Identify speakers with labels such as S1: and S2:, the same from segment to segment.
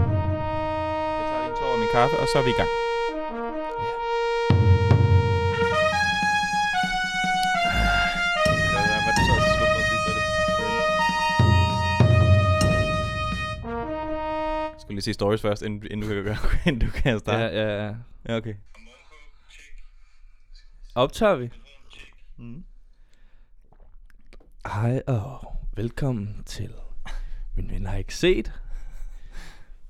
S1: Jeg tager lige en tår af min kaffe, og så er vi i gang. Hvad- hvad- hvad er det så til slut, for at sige, så er det crazy? Jeg skulle lige sige stories først, inden, inden du kan gøre, inden du kan starte.
S2: Ja, ja, ja.
S1: Ja, okay.
S2: Optager vi? Mm. Hej og velkommen til Min Ven Har Ikke Set.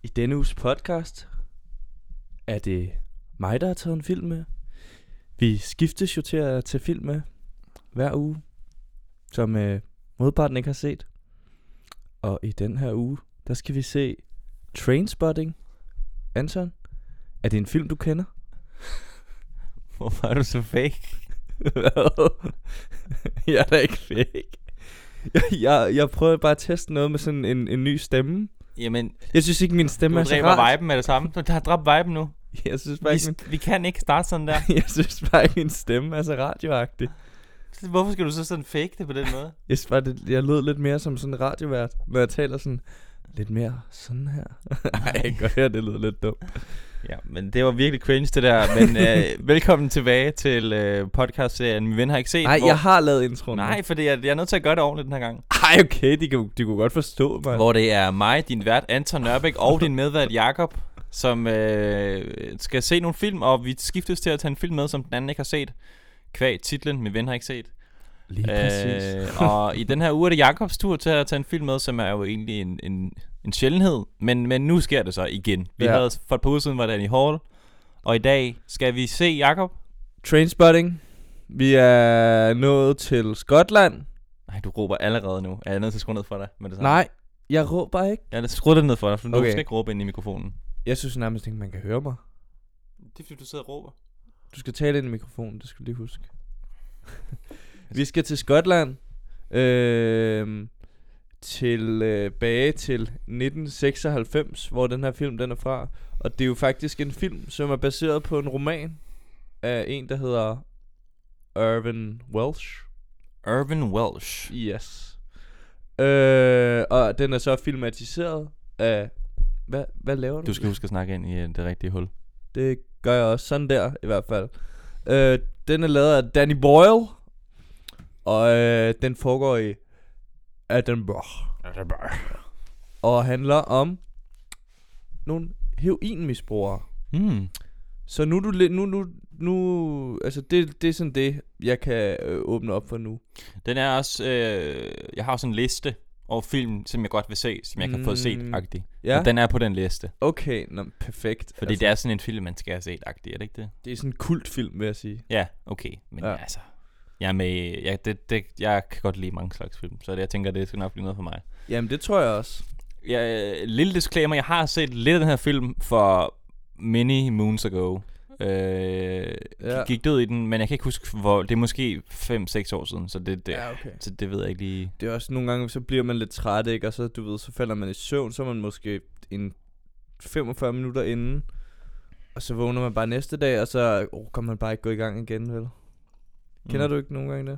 S2: I denne uges podcast er det mig, der har taget en film med. Vi skiftes jo til at tage film med hver uge, som øh, modparten ikke har set. Og i den her uge, der skal vi se Trainspotting. Anton, er det en film, du kender?
S1: Hvorfor er du så fake?
S2: Hvad? jeg er da ikke fake. Jeg, jeg, jeg prøver bare at teste noget med sådan en, en ny stemme.
S1: Jamen,
S2: Jeg synes ikke, min
S1: du
S2: stemme er så
S1: dræber
S2: rar.
S1: viben med det samme. Du har dræbt viben nu.
S2: Jeg synes bare
S1: Vi,
S2: ikke, min,
S1: vi kan ikke starte sådan der.
S2: jeg synes bare ikke, min stemme er så radioagtig.
S1: Hvorfor skal du så sådan fake det på den måde?
S2: Jeg synes bare, det, jeg lød lidt mere som sådan en radiovært, når jeg taler sådan lidt mere sådan her. Nej, jeg kan godt høre, det lyder lidt dumt.
S1: Ja, men det var virkelig cringe det der, men øh, velkommen tilbage til øh, podcastserien Min Ven Har Ikke Set.
S2: Nej, jeg har lavet introen. nu.
S1: Nej, fordi jeg, jeg er nødt til at gøre det ordentligt den her gang.
S2: Ej, okay, de, kan, de kunne godt forstå mig.
S1: Hvor det er mig, din vært Anton Nørbæk og din medvært Jakob, som øh, skal se nogle film, og vi skiftes til at tage en film med, som den anden ikke har set. Kvæg titlen Min Ven Har Ikke Set.
S2: Lige
S1: Øh,
S2: præcis.
S1: og i den her uge er det Jakobs tur til at tage en film med, som er jo egentlig en, en, en sjældenhed, men, men nu sker det så igen. Vi ja.
S2: Ja.
S1: havde for et par uger siden, var den i Hall, og i dag skal vi se Jakob.
S2: Trainspotting. Vi er nået til Skotland.
S1: Nej, du råber allerede nu. Er jeg nødt til at skrue ned for dig med det samme?
S2: Nej, jeg råber ikke.
S1: Jeg er nødt til at skrue det ned for dig, for okay. du
S2: Okay.
S1: skal ikke råbe ind i mikrofonen.
S2: Jeg synes nærmest ikke, man kan høre mig.
S1: Det er fordi, du sidder og råber.
S2: Du skal tale ind i mikrofonen, det skal du lige huske. vi skal til Skotland. Øh, tilbage til 1996, hvor den her film den er fra. Og det er jo faktisk en film, som er baseret på en roman af en, der hedder Irvin Welsh.
S1: Irvin Welsh.
S2: Yes. Øh, og den er så filmatiseret af... Hvad, hvad laver du?
S1: Du skal huske at snakke ind i øh, det rigtige hul.
S2: Det gør jeg også sådan der, i hvert fald. Øh, den er lavet af Danny Boyle, og øh, den foregår i Edinburgh, og handler om nogle heroinmisbrugere.
S1: Mm.
S2: Så nu er du lidt, nu, nu, nu, altså det, det er sådan det, jeg kan øh, åbne op for nu.
S1: Den er også... Øh, jeg har også en liste over film, som jeg godt vil se, som jeg ikke har fået set,
S2: Mm.
S1: agtig. Hmm. Ja.
S2: Ja,
S1: Og den er på den liste.
S2: okay, nå, men perfekt.
S1: Fordi altså. det er sådan en film, man skal have set, agtig. Er det ikke det?
S2: det er sådan en kultfilm, vil jeg sige.
S1: Ja, okay. Men ja.
S2: Ja.
S1: altså... Jeg, er med, jeg, det, det, jeg kan godt lide mange slags film, så det, jeg tænker, det skal nok blive noget for mig.
S2: Jamen, det tror jeg også.
S1: jeg, lille disclaimer, jeg har set lidt af den her film for many moons ago. Øh, ja.
S2: Ja.
S1: Gik død i den, men jeg kan ikke huske, hvor... Det er måske 5-6 år siden, så det, det, ja.
S2: okay.
S1: så det ved jeg ikke lige.
S2: Det er også nogle gange, så bliver man lidt træt, ikke? Og så, du ved, så falder man i søvn, så er man måske en 45 minutter inden. Og så vågner man bare næste dag, og så oh, kan man bare ikke gå i gang igen, vel? Kender
S1: Mm.
S2: du ikke nogen gange det?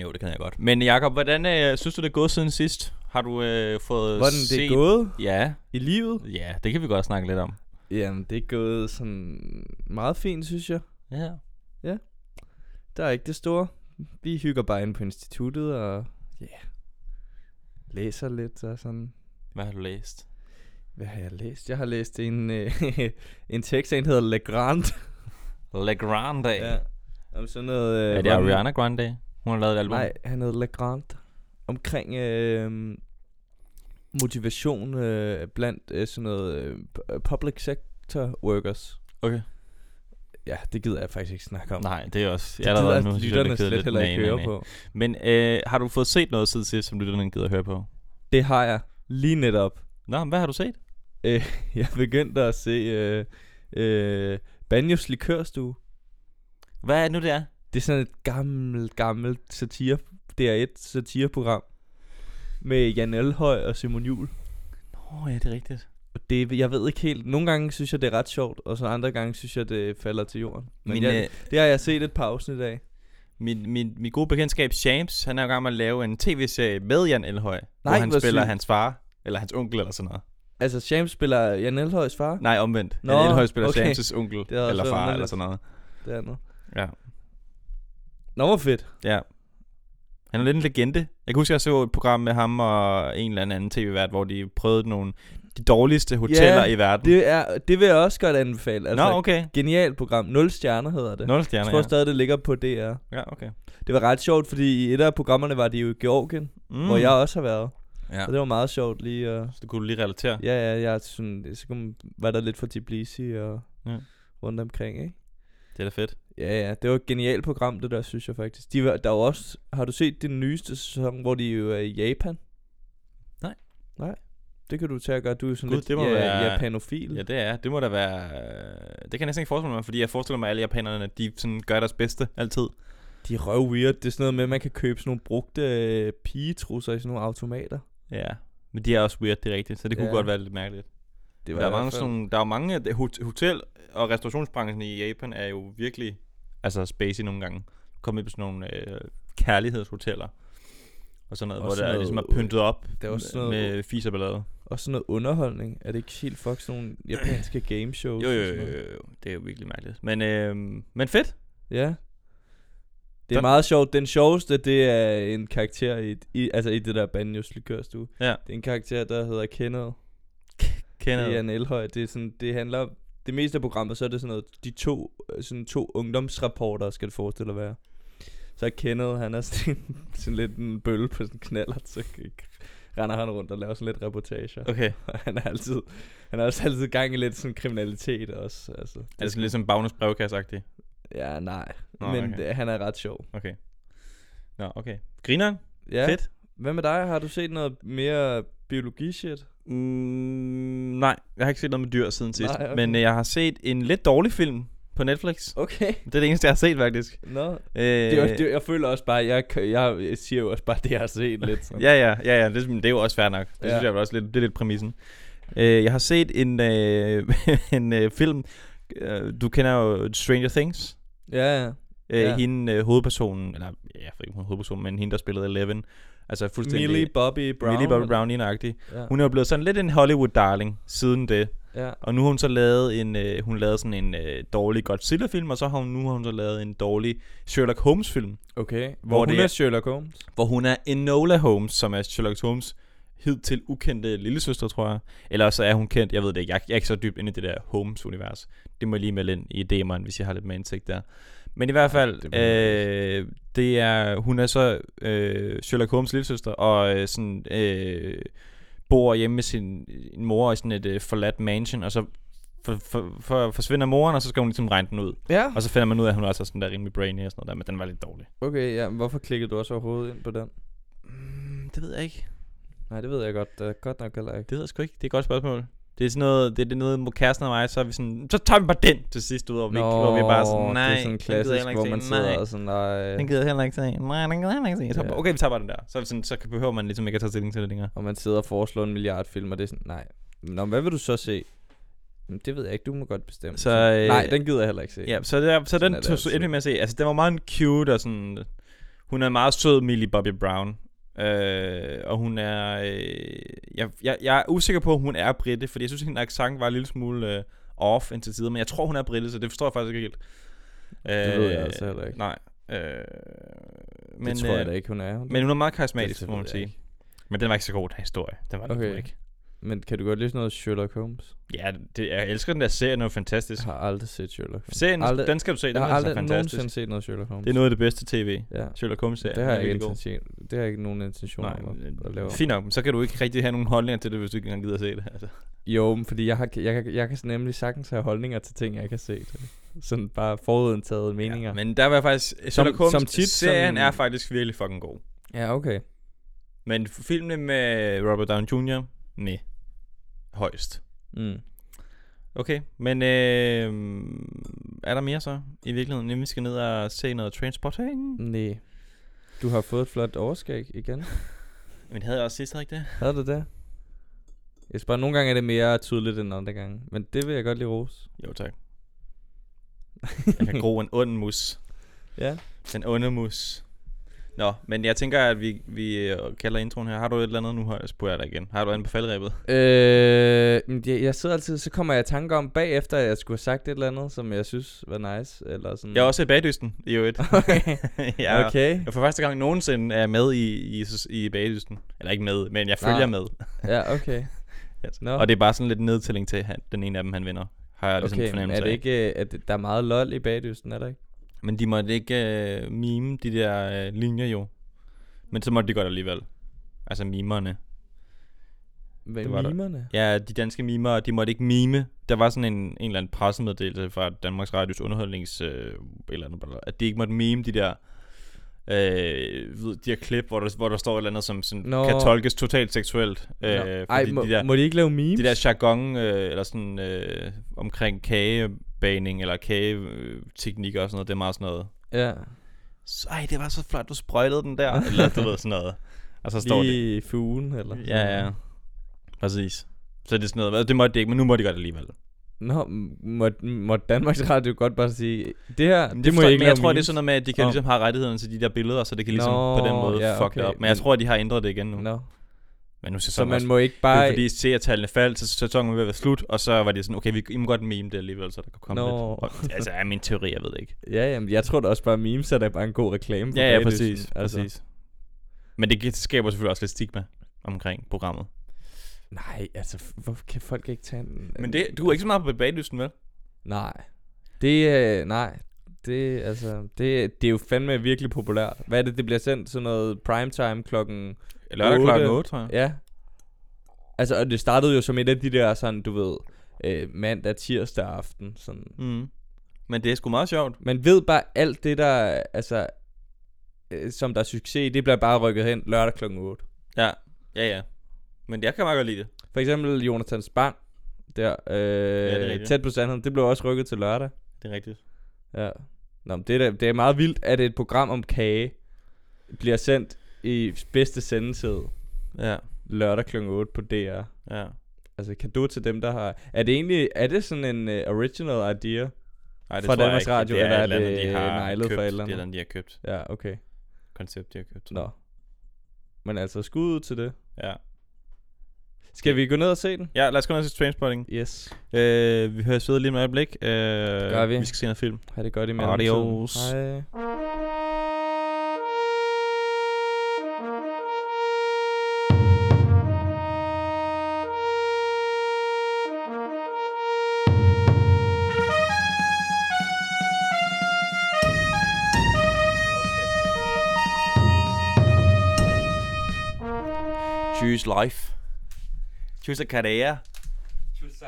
S1: Jo, det kender jeg godt. Men Jakob, hvordan øh, synes du, det er gået siden sidst? Har du øh, fået
S2: Hvordan
S1: set...
S2: det er gået
S1: Ja,
S2: i livet?
S1: ja, det kan vi godt snakke lidt om.
S2: Jamen, det er gået sådan meget fint, synes jeg.
S1: Ja.
S2: Der er ikke det store. Vi hygger bare inde på instituttet og ja, yeah. læser lidt og sådan.
S1: Hvad har du læst?
S2: Hvad har jeg læst? Jeg har læst en, øh, en tekst, en hedder Le Grand.
S1: La Grande. Ja.
S2: Ja. Om sådan noget... Øh,
S1: Er det
S2: hvordan-
S1: Ariana Grande? Hun har lavet et album.
S2: Nej, han hed Legrand. Omkring øh, motivation øh, blandt øh, sådan noget øh, p- public sector workers.
S1: Okay.
S2: Ja, det gider jeg faktisk ikke snakke om.
S1: Nej, det er også...
S2: det
S1: allerede
S2: gider
S1: nu, synes jeg, det er
S2: lytterne
S1: kedeligt.
S2: slet heller
S1: Nej,
S2: ikke
S1: nej,
S2: høre
S1: nej.
S2: på.
S1: Men øh, har du fået set noget siden sidst, som lytterne gider at høre på?
S2: Det har jeg lige netop.
S1: Nå, men hvad har du set?
S2: Jeg begyndte at se øh, øh, Banjos Likørstue.
S1: Hvad er det nu, det er?
S2: Det er sådan et gammelt, gammelt satire, DR1 satireprogram med Jan Elhøj og Simon Jul.
S1: Åh, oh, ja, det er rigtigt.
S2: Og det, jeg ved ikke helt. Nogle gange synes jeg, det er ret sjovt, og så andre gange synes jeg, det falder til jorden. Men,
S1: Men,
S2: Men jeg,
S1: øh,
S2: det har jeg set et par afsnit af.
S1: Min, min, min gode bekendtskab, Shams, han er jo i gang med at lave en tv-serie med Jan Elhøj. hvor
S2: Nej,
S1: han
S2: hvor
S1: spiller
S2: sygt.
S1: hans far, eller hans onkel, eller sådan noget.
S2: Altså, James spiller Jan Elhøjs far.
S1: Nej, omvendt.
S2: Nå,
S1: Nå, Jan Elhøj spiller
S2: okay.
S1: okay. Shams' onkel,
S2: Det er også
S1: eller far, eller
S2: underligt.
S1: sådan noget.
S2: Det andet.
S1: Ja.
S2: Nå, hvor fedt.
S1: Ja. Han er lidt en legende. Jeg kan huske, jeg så et program med ham og en eller anden tv-vært, hvor de prøvede nogle de dårligste hoteller i verden.
S2: Det, er, det vil jeg også godt anbefale. Altså,
S1: Nå, okay.
S2: Genialt program. 0 stjerner hedder det.
S1: Nul
S2: jeg
S1: stjerner,
S2: tror
S1: ja.
S2: stadig, det ligger på DR.
S1: ja. okay.
S2: Det var ret sjovt, fordi i et af programmerne var de jo i Georgien, mm.
S1: Mm.
S2: hvor jeg også har været.
S1: Ja.
S2: Og det var meget sjovt lige at...
S1: Så det kunne du lige relatere.
S2: Ja, ja, jeg er sådan, så kom, var der lidt for Tbilisi og
S1: Ja.
S2: ja. rundt omkring, ikke?
S1: Det er da fedt.
S2: Ja, ja, det var et genialt program, det der, synes jeg faktisk. De var, der var også, har du set den nyeste sæson, hvor de jo er i Japan?
S1: Nej.
S2: Nej, det kan du tage og gøre. Du er jo sådan
S1: Gud,
S2: lidt
S1: det må
S2: ja,
S1: være-
S2: japanofil.
S1: Ja, det er. Det må da være... øh, Det kan jeg næsten ikke forestille mig, fordi jeg forestiller mig, at alle japanerne, de sådan gør deres bedste altid.
S2: De er røv weird. Det er sådan noget med, at man kan købe sådan nogle brugte øh, pigetrusser i sådan nogle automater.
S1: Ja. Men de er også weird, det er rigtigt, så det kunne
S2: Ja.
S1: godt være lidt mærkeligt.
S2: Det
S1: der,
S2: i
S1: er
S2: hvert
S1: mange
S2: fald-
S1: sådan, nogle- der er jo mange... af de- hot- Hotel- og restaurationsbranchen i Japan er jo virkelig altså spacey nogle gange. Kom med på sådan nogle øh, kærlighedshoteller. Og sådan noget,
S2: Og
S1: hvor
S2: sådan
S1: der er
S2: noget-
S1: ligesom er pyntet op
S2: der er også sådan noget-
S1: med fis og ballade.
S2: Og sådan noget underholdning. Er det ikke helt fuck sådan nogle japanske gameshows?
S1: Jo,
S2: og
S1: jo,
S2: sådan
S1: jo,
S2: noget?
S1: jo, jo. Det er jo virkelig mærkeligt. Men, øh, men fedt.
S2: Ja. Det er
S1: Den-
S2: meget sjovt. Den sjoveste, det er en karakter i, i altså i det der Banjos Likørstue.
S1: Ja.
S2: Det er en karakter, der hedder Kenneth.
S1: Kender
S2: Det er en elhøj. Det, er sådan, det handler om- det meste af programmet, så er det sådan noget, de to, øh, sådan to ungdomsrapporter, skal det forestille at være. Så er Kenneth, han er sådan, en- sådan lidt en bølle på sådan en knallert, så k- render han rundt og laver sådan lidt reportager.
S1: Okay.
S2: Og han er altid, han er også altid gang i lidt sådan kriminalitet også. Altså, det
S1: Er det sådan lidt som Bagnes brevkasse
S2: Ja, nej.
S1: Nå,
S2: Nå, Men
S1: okay.
S2: okay. han er ret sjov.
S1: Okay. Nå, okay. Grineren?
S2: Ja.
S1: Fedt.
S2: Hvad med dig? Har du set noget mere biologi-shit?
S1: Mm, nej, jeg har ikke set noget med dyr siden sidst.
S2: Nej, okay.
S1: Men øh, jeg har set en lidt dårlig film på Netflix.
S2: Okay.
S1: Det er det eneste, jeg har set, faktisk.
S2: Nå.
S1: Øh,
S2: Det, var, det, jeg føler også bare, jeg, kan- jeg, jeg siger jo også bare, det jeg har set lidt. Sådan.
S1: Ja, ja, ja, ja det, det er jo også fair nok. Det ja.
S2: Ja.
S1: synes jeg vel også lidt, det er lidt præmissen. Øh, jeg har set en, øh, en øh, film, øh, du kender jo Stranger Things.
S2: ja, ja.
S1: Øh, ja.
S2: Ja.
S1: Hende øh, hovedpersonen, eller ja, jeg ved ikke, hun er hovedpersonen, men hende, der spillede Eleven. Altså fuldstændig...
S2: Millie Bobby Brown.
S1: Millie Bobby Brown, agtig
S2: Ja.
S1: Hun er jo blevet sådan lidt en Hollywood-darling siden det.
S2: ja.
S1: Og nu har hun så lavet en, øh, hun lavede sådan en øh, dårlig Godzilla-film, og så har hun, nu har hun så lavet en dårlig Sherlock Holmes-film,
S2: Okay. Hvor,
S1: Hvor
S2: hun
S1: det er-
S2: er Sherlock Holmes.
S1: hvor hun er Enola Holmes, som er Sherlock Holmes hidtil ukendte lillesøster, tror jeg. Eller så er hun kendt, jeg ved det ikke, jeg, jeg er ikke så dybt inde i det der Holmes-univers. Det må jeg lige melde ind i DM'eren, hvis jeg har lidt mere indsigt der. Men i hvert
S2: det
S1: fald,
S2: må jeg
S1: øh, det er, hun er så øh, Sherlock Holmes lillesøster, og øh, sådan, øh, bor hjemme med sin en mor i sådan et øh, forladt mansion, og så for, for, for, forsvinder moren, og så skal hun ligesom regne den ud.
S2: Ja.
S1: Og så finder man ud af, at hun også er sådan der rimelig brainy og sådan noget der, men den var lidt dårlig.
S2: Okay, ja. men Hvorfor klikkede du også overhovedet ind på den?
S1: Mm, det ved jeg ikke.
S2: Nej, det ved jeg godt. Det er godt nok heller ikke.
S1: Det ved jeg sgu ikke. Det er et godt spørgsmål. Det er sådan noget, det er det noget, hvor kæresten og mig, så er vi sådan, så tager vi bare den til sidst, du ved, hvor vi, ikke- hvor vi bare sådan, nej,
S2: det er sådan
S1: den
S2: en
S1: gider jeg
S2: klassisk,
S1: heller ikke
S2: hvor
S1: se.
S2: man sidder
S1: nej,
S2: og sådan, nej.
S1: den gider jeg heller ikke se, nej, den gider jeg heller ikke se. Så,
S2: Ja.
S1: bare, okay, vi tager bare den der. Så, er vi sådan, så behøver man ligesom ikke at tage stilling til det længere.
S2: Og man sidder og foreslår en milliard film, og det er sådan, nej. Nå, men hvad vil du så se? Jamen, det ved jeg ikke, du må godt bestemme.
S1: Så,
S2: Sådan,
S1: øh,
S2: nej, den gider jeg heller ikke se.
S1: Ja, så, der, så
S2: Sådan
S1: den
S2: er det
S1: tog så
S2: altid.
S1: endelig med at se. Altså, den var meget cute og sådan... Hun er en meget sød, Millie Bobby Brown. Øh, og hun er... Øh, jeg, jeg, jeg er usikker på, om hun er britte, fordi jeg synes, hendes accent var en lille smule øh, off indtil tider, men jeg tror, hun er britte, så det forstår jeg faktisk ikke helt. Øh,
S2: Det ved jeg altså heller ikke.
S1: Nej. Øh, men,
S2: det tror jeg
S1: øh,
S2: da ikke, hun er. Men,
S1: Men hun er meget
S2: Det-
S1: karismatisk,
S2: det
S1: må
S2: ved
S1: man
S2: jeg
S1: sige.
S2: ikke.
S1: Men den var ikke så god, den her historie. Den var
S2: Okay.
S1: okay. ikke.
S2: men kan du godt lide sådan noget Sherlock Holmes?
S1: Ja, det, jeg elsker den der serie, den er jo fantastisk.
S2: Jeg har aldrig set Sherlock Holmes.
S1: Serien,
S2: aldrig-
S1: den skal du se, den
S2: Jeg har
S1: er altså
S2: aldrig
S1: fantastisk.
S2: nogensinde set noget Sherlock Holmes.
S1: Det er noget af det bedste tv.
S2: Ja.
S1: Sherlock Holmes
S2: Det har, jeg ikke intention, det har jeg ikke nogen intention
S1: Nej,
S2: om
S1: men,
S2: at, at
S1: øh,
S2: lave.
S1: Fint nok, men så kan du ikke rigtig have nogen holdninger til det, hvis du ikke engang gider at se det. Altså.
S2: Jo, men fordi jeg, har, jeg, jeg, jeg kan sådan nemlig sagtens have holdninger til ting, jeg ikke har set. Sådan bare forudindtaget meninger. Ja,
S1: Men der var jeg faktisk... Sherlock Holmes,
S2: som tit,
S1: serien
S2: som-
S1: er faktisk virkelig fucking god.
S2: ja okay.
S1: Men filmene med Robert Downey Jr., nej. Højst.
S2: Mm.
S1: Okay, men øh, er der mere så i virkeligheden? Inden vi skal ned og se noget Trainspotting? Mm.
S2: Nej. Du har fået et flot overskæg igen.
S1: Men havde jeg også sidst, havde jeg ikke det?
S2: Havde du det? Jeg skal bare, nogle gange er det mere tydeligt end andre gange. Men det vil jeg godt lige rose.
S1: Jo tak. Jeg kan gro en ond mus.
S2: Ja.
S1: Den onde mus. Nå, men jeg tænker, at vi, vi øh, kalder introen her. Har du et eller andet nu? har- Spørger jeg dig igen. Har du andet på faldrebet?
S2: Øh, men jeg, jeg sidder altid, så kommer jeg i tanker om bagefter, at jeg skulle have sagt et eller andet, som jeg synes var nice, eller sådan.
S1: Jeg er også i bagdysten, i øvrigt.
S2: Mm. Okay.
S1: jeg, okay.
S2: okay.
S1: jeg for første gang nogensinde er jeg med i, i, i bagdysten. Eller ikke med, men jeg følger
S2: Nej.
S1: med.
S2: Ja, okay.
S1: Altså,
S2: Nå.
S1: Og det er bare sådan lidt nedtælling til, at den ene af dem han vinder. Har jeg ligesom okay,
S2: okay, men
S1: fornemmelse
S2: er det
S1: ikke?
S2: ikke, øh, at der er meget lol i bagdysten, er der ikke?
S1: af. Men de måtte ikke øh, mime de der øh, linjer jo. Men så måtte de godt alligevel. Altså mimerne.
S2: Hvad,
S1: Det var der.
S2: mimerne?
S1: Ja, de danske mimer, de måtte ikke mime. Der var sådan en, en eller anden pressemeddelelse fra Danmarks Radios underholdnings... Øh, et eller andet, blablabla, at de ikke måtte mime de der... Øh, ved, de her klip, hvor der, hvor der står et eller andet, som sådan,
S2: Nå.
S1: kan tolkes totalt seksuelt. Øh,
S2: Nå,
S1: fordi
S2: Ej, må,
S1: de der,
S2: må de ikke lave memes?
S1: det der jargon, øh, eller sådan øh, omkring kagebaning, eller kageteknikker og sådan noget, det er meget sådan noget.
S2: Ja.
S1: Så, ej, det var så flot, du sprøjtede den der, eller du ved sådan noget. Og så står det.
S2: Lige i fugen, eller?
S1: Ja, ja. Præcis. Så det er sådan noget, "Hvad, det måtte de ikke, men nu må de godt alligevel.
S2: Nå, m- må, må Danmarks Radio godt bare sige, det her,
S1: Men
S2: det,
S1: det, det
S2: må
S1: for,
S2: jeg ikke
S1: men jeg
S2: lave
S1: tror, det er
S2: memes."
S1: sådan noget med, at de kan
S2: Nå.
S1: ligesom have rettighederne til de der billeder, så det kan ligesom
S2: Nå,
S1: på den måde
S2: ja,
S1: fuck det
S2: okay.
S1: op. Men jeg
S2: Men-
S1: tror, at de har ændret det igen nu.
S2: Nå.
S1: Men nu ser
S2: Så
S1: sæsonen
S2: man
S1: også...
S2: må ikke
S1: Det
S2: bare...
S1: er fordi seertallene faldt, så sæsonen var ved at være slut, og så var det sådan, okay, vi I må godt meme det alligevel, så der kan komme lidt.
S2: Nå.
S1: Og, altså, er min teori, jeg ved det ikke.
S2: Ja, jamen, jeg tror da også bare, memes er da bare en god reklame. for
S1: Ja, ja,
S2: bagdysten,
S1: præcis, altså. præcis. Men det gi- skaber selvfølgelig også lidt stigma omkring programmet.
S2: Nej, altså, f- hvorfor kan folk ikke tage en...
S1: Men det, du er ikke så meget på baglysten, vel?
S2: Nej. Det er... Nej. Det, altså, det, det er jo fandme virkelig populært. Hvad er det, det bliver sendt? Sådan noget primetime klokken...
S1: Lørdag klokken
S2: Otte.
S1: 8, tror jeg.
S2: Ja. Altså, og det startede jo som et af de der, sådan, du ved, øh, mandag, tirsdag aften. Sådan.
S1: Mm. Men det er sgu meget sjovt.
S2: Man ved bare alt det, der... Altså, øh, som der er succes i, det bliver bare rykket hen lørdag klokken 8.
S1: Ja, ja, ja. Men jeg kan meget godt lide det.
S2: For eksempel Jonathan Spang, der, øh,
S1: er
S2: ja,
S1: rigtigt.
S2: tæt på sandheden, det blev også rykket til lørdag.
S1: Det er rigtigt.
S2: Ja. Nå, men det, er, da- det er meget vildt, at et program om kage bliver sendt i bedste sendetid
S1: Ja,
S2: lørdag kl. 8 på DR.
S1: ja.
S2: Altså, kado til dem, der har... Er det egentlig... Er det sådan en uh, original idea?
S1: Ej, det
S2: Fra
S1: tror jeg
S2: Danmarks
S1: ikke.
S2: Radio,
S1: det er
S2: eller
S1: et eller
S2: er
S1: andet, de
S2: det øh,
S1: har
S2: neglet
S1: købt.
S2: fra et eller
S1: Det er
S2: andet?
S1: andet, de har købt.
S2: Ja, okay.
S1: Koncept, de har købt.
S2: Nå. Men altså, skud ud til det.
S1: Ja.
S2: Skal vi gå ned og se den?
S1: ja, lad os gå ned til Trainspotting.
S2: Yes.
S1: Øh, vi hører sidde lige om et øjeblik. Øh, gør
S2: vi.
S1: Vi skal se noget film.
S2: Ha' det godt i mellemtiden.
S1: Adios.
S2: Hej.
S1: Choose life. Choose a career. Choose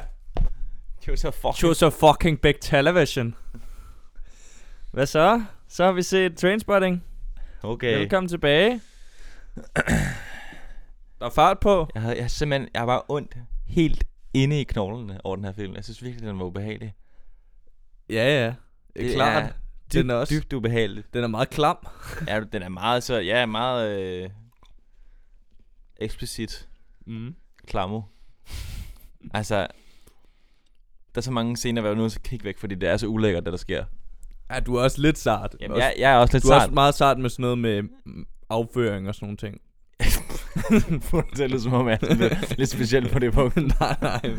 S1: a fucking...
S2: Choose a fucking big television. Hvad så? Så har vi set Trainspotting.
S1: Okay.
S2: Okay. Velkommen tilbage. Der er fart på.
S1: Jeg havde, jeg havde simpelthen, jeg var ondt helt inde i knoglene over den her film. Jeg synes virkelig, den var ubehagelig.
S2: Ja, ja. Det er klart.
S1: Er dybt,
S2: Den er også-
S1: dybt ubehagelig.
S2: Den er meget klam.
S1: ja, den er meget så, ja, meget øh, eksplicit
S2: Mm.
S1: klammer. altså, der er så mange scener, hvor jeg er nødt til at kigge væk, fordi det er så ulækkert, det der sker.
S2: Ja, du er også lidt sart.
S1: Jamen,
S2: Også-
S1: jeg, jeg er også lidt
S2: du er
S1: sart.
S2: også meget sart med sådan noget med mm, afføring og sådan nogle ting.
S1: det lyder som om, jeg er lidt, lidt speciel på det punkt.
S2: nej, nej, men...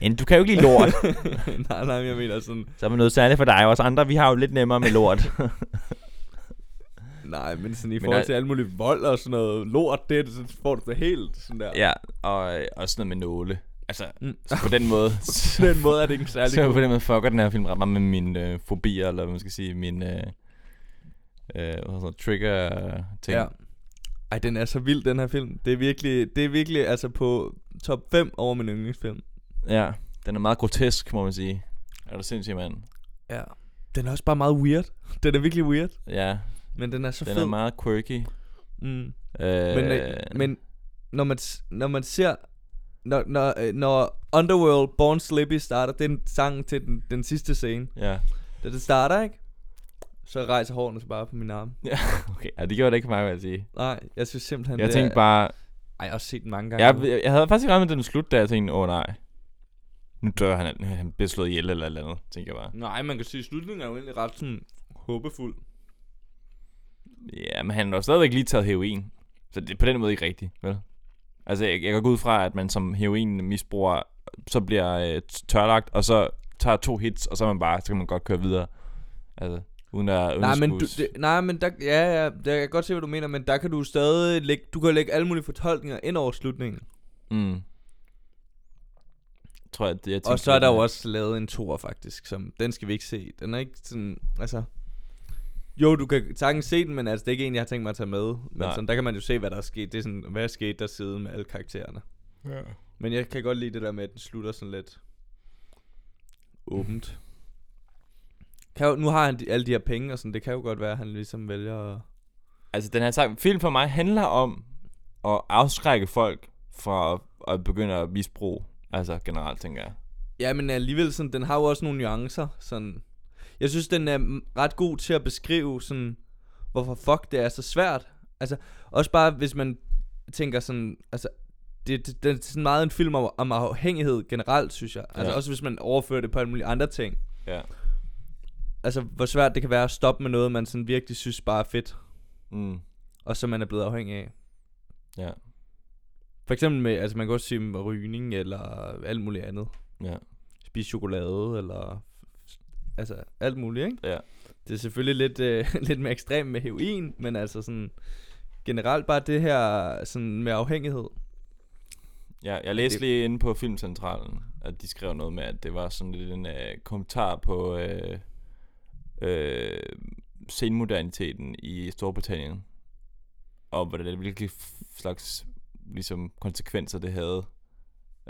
S1: Men du kan jo ikke lide lort.
S2: nej, nej, men jeg mener sådan...
S1: Så er man noget særligt for dig. Os andre, vi har jo lidt nemmere med lort.
S2: Nej, men sådan i
S1: Men
S2: forhold
S1: der-
S2: til alle mulige vold og sådan noget lort, det, så får du det helt sådan der.
S1: ja, og, og sådan noget med nåle. Altså,
S2: Mm.
S1: så på den måde, så,
S2: På den måde er det ikke en særlig
S1: så
S2: god.
S1: på den måde fucker den her film ret meget med mine øh, fobier, eller hvad man skal sige, mine øh, øh, hvad hedder det, trigger-ting.
S2: Ja. Ej, den er så vild, den her film. Det er virkelig, det er virkelig altså på top 5 over min yndlingsfilm.
S1: ja. Den er meget grotesk, må man sige. Er du sindssyg, mand?
S2: Ja. Den er også bare meget weird. Den er virkelig weird,
S1: Ja,
S2: men den er så
S1: den
S2: fed.
S1: er meget quirky.
S2: mm.
S1: Øh,
S2: men, øh, men når man, s- når man ser... Når, når, øh, når Underworld Born Slippy starter, den sang til den, den sidste scene,
S1: Ja,
S2: da det starter, ikke? Så rejser hårene så bare på min arm.
S1: okay. Ja, det gjorde det ikke for mig, vil jeg sige.
S2: Nej, jeg synes simpelthen,
S1: Jeg
S2: det
S1: tænkte
S2: er...
S1: bare...
S2: Ej, jeg har også set den mange gange.
S1: Jeg, jeg havde faktisk ikke regnet med den slut, da jeg tænkte, åh oh, nej. Nu dør han, han- han bliver slået ihjel eller et eller andet, tænker jeg bare.
S2: Nej, man kan sige, at slutningen er jo egentlig ret sådan håbefuld.
S1: Ja, men han har jo stadigvæk lige taget heroin. Så det er på den måde ikke rigtigt, vel? Altså, jeg, jeg går ud fra, at man som heroinmisbruger, så bliver øh, t- tørlagt, og så tager to hits, og så er man bare, så kan man godt køre videre. Altså, uden at... Uden
S2: Nej,
S1: at
S2: men,
S1: skulle
S2: du, det, nej, men der, ja, ja, der, jeg kan godt se, hvad du mener, men der kan du stadig lægge, du kan lægge alle mulige fortolkninger ind over slutningen.
S1: Mm. Tror jeg, det, jeg tænkte
S2: Og så er
S1: lidt
S2: der jo
S1: mere.
S2: også lavet en toer faktisk, som den skal vi ikke se. Den er ikke sådan, altså... Jo, du kan sagtens se den, men altså, det er ikke en, jeg har tænkt mig at tage med. Men
S1: Nej.
S2: sådan, der kan man jo se, hvad der er sket. Det er sådan, hvad er sket der siden med alle karaktererne.
S1: Ja.
S2: Men jeg kan godt lide det der med, at den slutter sådan lidt åbent. Kan jo, nu har han de, alle de her penge og sådan, det kan jo godt være, at han ligesom vælger at...
S1: Altså, den her sang, film for mig handler om at afskrække folk fra at, at begynde at misbruge. Altså, generelt, tænker jeg.
S2: Ja, men alligevel, sådan, den har jo også nogle nuancer. Sådan. Jeg synes, den er mm, ret god til at beskrive, sådan, hvorfor fuck det er så svært. Altså, også bare, hvis man tænker sådan, altså, det, det, det er sådan meget en film om, om afhængighed generelt, synes jeg. Altså,
S1: Ja.
S2: ja. også hvis man overfører det på alle mulige andre ting.
S1: Ja.
S2: Altså, hvor svært det kan være at stoppe med noget, man sådan virkelig synes bare er fedt,
S1: Mm.
S2: og som man er blevet afhængig af.
S1: Ja.
S2: For eksempel med, altså man kan også sige med rygning, eller alt muligt andet.
S1: Ja.
S2: spise chokolade, eller altså alt muligt, ikke?
S1: Ja.
S2: Det er selvfølgelig lidt, øh, lidt mere ekstremt med heroin, men altså sådan generelt bare det her sådan med afhængighed.
S1: Ja, jeg læste
S2: Det-
S1: lige inde på Filmcentralen, at de skrev noget med, at det var sådan lidt en øh, kommentar på øh, øh, senmoderniteten i Storbritannien. Og hvordan, hvilke f- slags ligesom, konsekvenser det havde.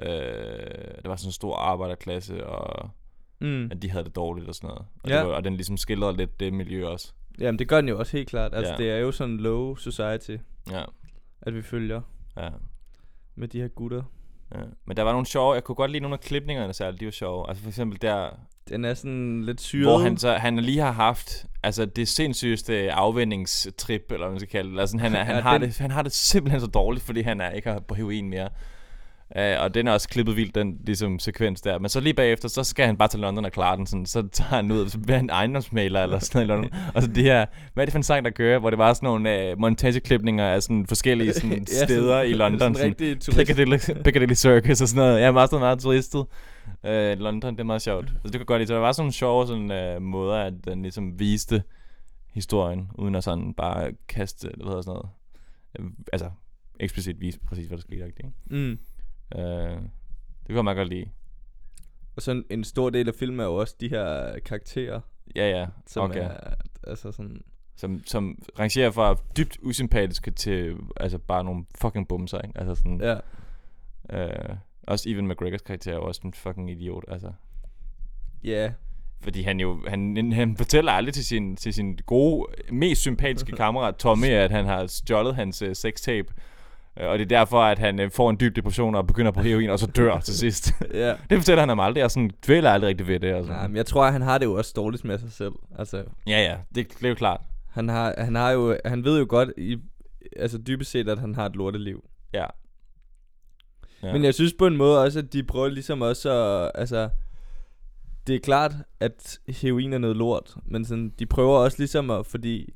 S1: Øh, der var sådan en stor arbejderklasse, og
S2: Mm.
S1: at de havde det dårligt og sådan noget. Og,
S2: Ja.
S1: det var, og den ligesom skildrede lidt det miljø også.
S2: Jamen det gør den jo også helt klart. Altså
S1: Ja.
S2: ja. det er jo sådan low society,
S1: Ja,
S2: at vi følger
S1: ja.
S2: med de her gutter.
S1: Ja. Men der var nogle sjove, jeg kunne godt lide nogle af klipningerne særligt, de var sjove. Altså for eksempel der,
S2: Den er sådan lidt syret.
S1: Hvor han så han lige har haft altså det sindssygeste afvendingstrip, eller hvad man skal kalde det. Eller sådan, han, er, han,
S2: Ja,
S1: har
S2: den-
S1: det, han har det simpelthen så dårligt, fordi han er, ikke har på heroin mere. Uh, og den er også klippet vildt, den ligesom, sekvens der. Men så lige bagefter, så skal han bare til London og klare den. Sådan, så tager han ud, så bliver han ejendomsmaler eller sådan noget i London. Og så det her, hvad er det for en sang, der kører? Hvor det var sådan nogle uh, montageklipninger af sådan forskellige sådan, ja, steder i London.
S2: Sådan,
S1: sådan,
S2: rigtig turist.
S1: Piccadilly, Piccadilly Circus og sådan noget. Jeg er meget, sådan meget turistet. Øh, London, det er meget sjovt. Altså, det kan jeg godt lide. Så der var sådan nogle sjove sådan, øh, måder, at den ligesom viste historien, uden at sådan bare kaste, hvad hedder sådan noget. Øh, altså, eksplicit vise præcis, hvad der skete. Ikke?
S2: Mm.
S1: Øh, det kunne jeg meget godt lide.
S2: Og sådan en stor del af filmen er jo også de her karakterer,
S1: Ja, ja.
S2: som
S1: okay.
S2: er altså sådan
S1: Som, som rangerer fra dybt usympatiske til altså bare nogle fucking bumser, ikke? Altså sådan,
S2: ja.
S1: ja. øh, også Evan McGregors karakter er jo også en fucking idiot, altså.
S2: Ja,
S1: Fordi han jo, han, han fortæller aldrig til sin, til sin gode, mest sympatiske kammerat Tommy, at han har stjålet hans øh, sextape. Øh, Og det er derfor, at han øh, får en dyb depression og begynder på heroin, og så dør til sidst.
S2: ja.
S1: det fortæller han ham aldrig, og sådan dvæler aldrig rigtig ved det. Og
S2: Nej,
S1: sådan.
S2: men jeg tror, han har det jo også dårligt med sig selv. Altså,
S1: Ja, ja, det, det er jo klart.
S2: Han har, han har jo, han ved jo godt i, altså dybest set, at han har et lorteliv.
S1: Ja. Ja.
S2: Ja. Men jeg synes på en måde også, at de prøver ligesom også at, altså, det er klart, at heroin er noget lort, men sådan, de prøver også ligesom at, fordi,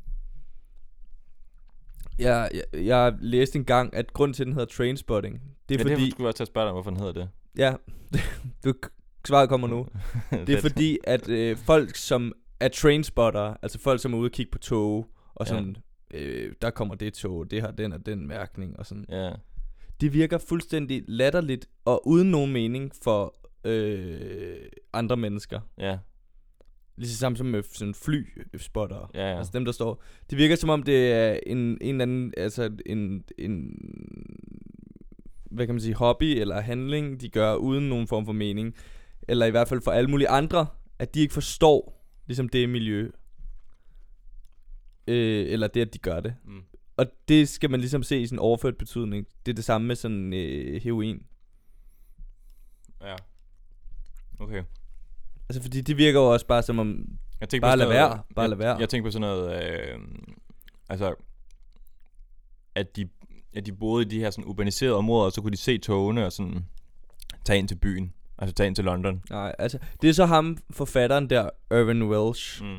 S2: jeg, jeg, jeg læste engang, at grund til, at den hedder Trainspotting, det
S1: Det er
S2: er ja,
S1: ja,
S2: fordi,
S1: det skulle jeg også til at spørge dig om, hvorfor den hedder det.
S2: ja, du, svaret kommer nu. Det er
S1: Fedt.
S2: fordi, at øh, folk, som er trainspotter, altså folk, som er ude og kigge på tog, og
S1: Ja.
S2: sådan, ja. øh, der kommer det tog, det har den og den mærkning, og sådan.
S1: Ja,
S2: Det virker fuldstændig latterligt og uden nogen mening for øh, andre mennesker.
S1: ja,
S2: Lige så samme som med sådan flyspotter.
S1: ja, ja.
S2: Altså dem, der står. Det virker som om, det er en, en eller anden, altså en, en, hvad kan man sige, hobby eller handling, de gør uden nogen form for mening. Eller i hvert fald for alle mulige andre, at de ikke forstår, ligesom det miljø. Øh, eller det, at de gør det.
S1: Mm.
S2: Og det skal man ligesom se i sådan overført betydning. Det er det samme med sådan øh, heroin.
S1: ja. Okay.
S2: Altså fordi det virker jo også bare som om,
S1: Jeg tænkte
S2: Bare
S1: på
S2: lad
S1: sådan noget-
S2: være. Bare
S1: jeg,
S2: lad være.
S1: Jeg tænkte på sådan noget, øh, altså, at de, at de boede i de her sådan urbaniserede områder, og så kunne de se togene og sådan tage ind til byen. Altså tage ind til London.
S2: nej, altså det er så ham, forfatteren der, Irvin Welsh,
S1: Mm.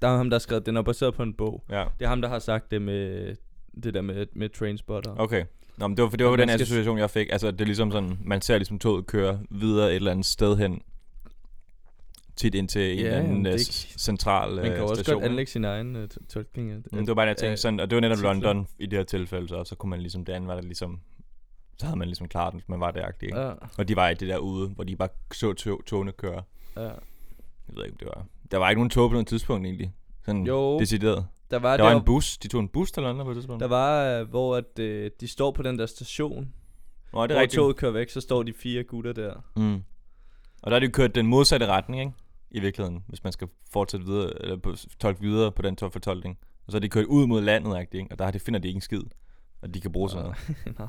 S2: Der er ham, der har skrevet, den er baseret på en bog.
S1: Ja.
S2: Det er ham, der har sagt det med det der med, med Trainspotter.
S1: Okay. Nå, men det var, for det var
S2: Men
S1: den
S2: man skal-
S1: association, jeg fik. Altså, det er ligesom sådan, man ser ligesom toget køre videre et eller andet sted hen. Tit ind til en
S2: Ja,
S1: eller anden
S2: men det
S1: øh,
S2: er
S1: s-
S2: ikke-
S1: central
S2: Man kan
S1: øh,
S2: jo også
S1: station.
S2: godt
S1: ikke?
S2: anlægge sin egen uh, tolkning. af-
S1: Mm, det var bare, det, jeg
S2: af-
S1: tænkte sådan, og det var netop
S2: Øh, titlen.
S1: London i det her tilfælde, så, så kunne man ligesom, det andet var der ligesom, så havde man ligesom klaret den, hvis man var der agtig, ikke?
S2: Ja,
S1: Og de var i det der ude, hvor de bare så tog, togene køre.
S2: ja.
S1: Jeg ved ikke, om det var. Der var ikke nogen tog på noget tidspunkt egentlig. Sådan
S2: Jo.
S1: decideret.
S2: Der var,
S1: Mm. Der var
S2: der,
S1: en bus. De tog en bus til London på et tidspunkt.
S2: der var, øh, hvor at, øh, de står på den der station,
S1: Nå, det er
S2: hvor
S1: rigtigt.
S2: toget kører væk, så står de fire gutter der.
S1: Mm. Og der har de jo kørt den modsatte retning, ikke? I virkeligheden, hvis man skal fortsætte videre, eller på, tolke videre på den to- fortolkning. Og så har de kørt ud mod landet, ikke? Og der har de, finder de ikke en skid, og de kan bruge sådan noget.
S2: Nej,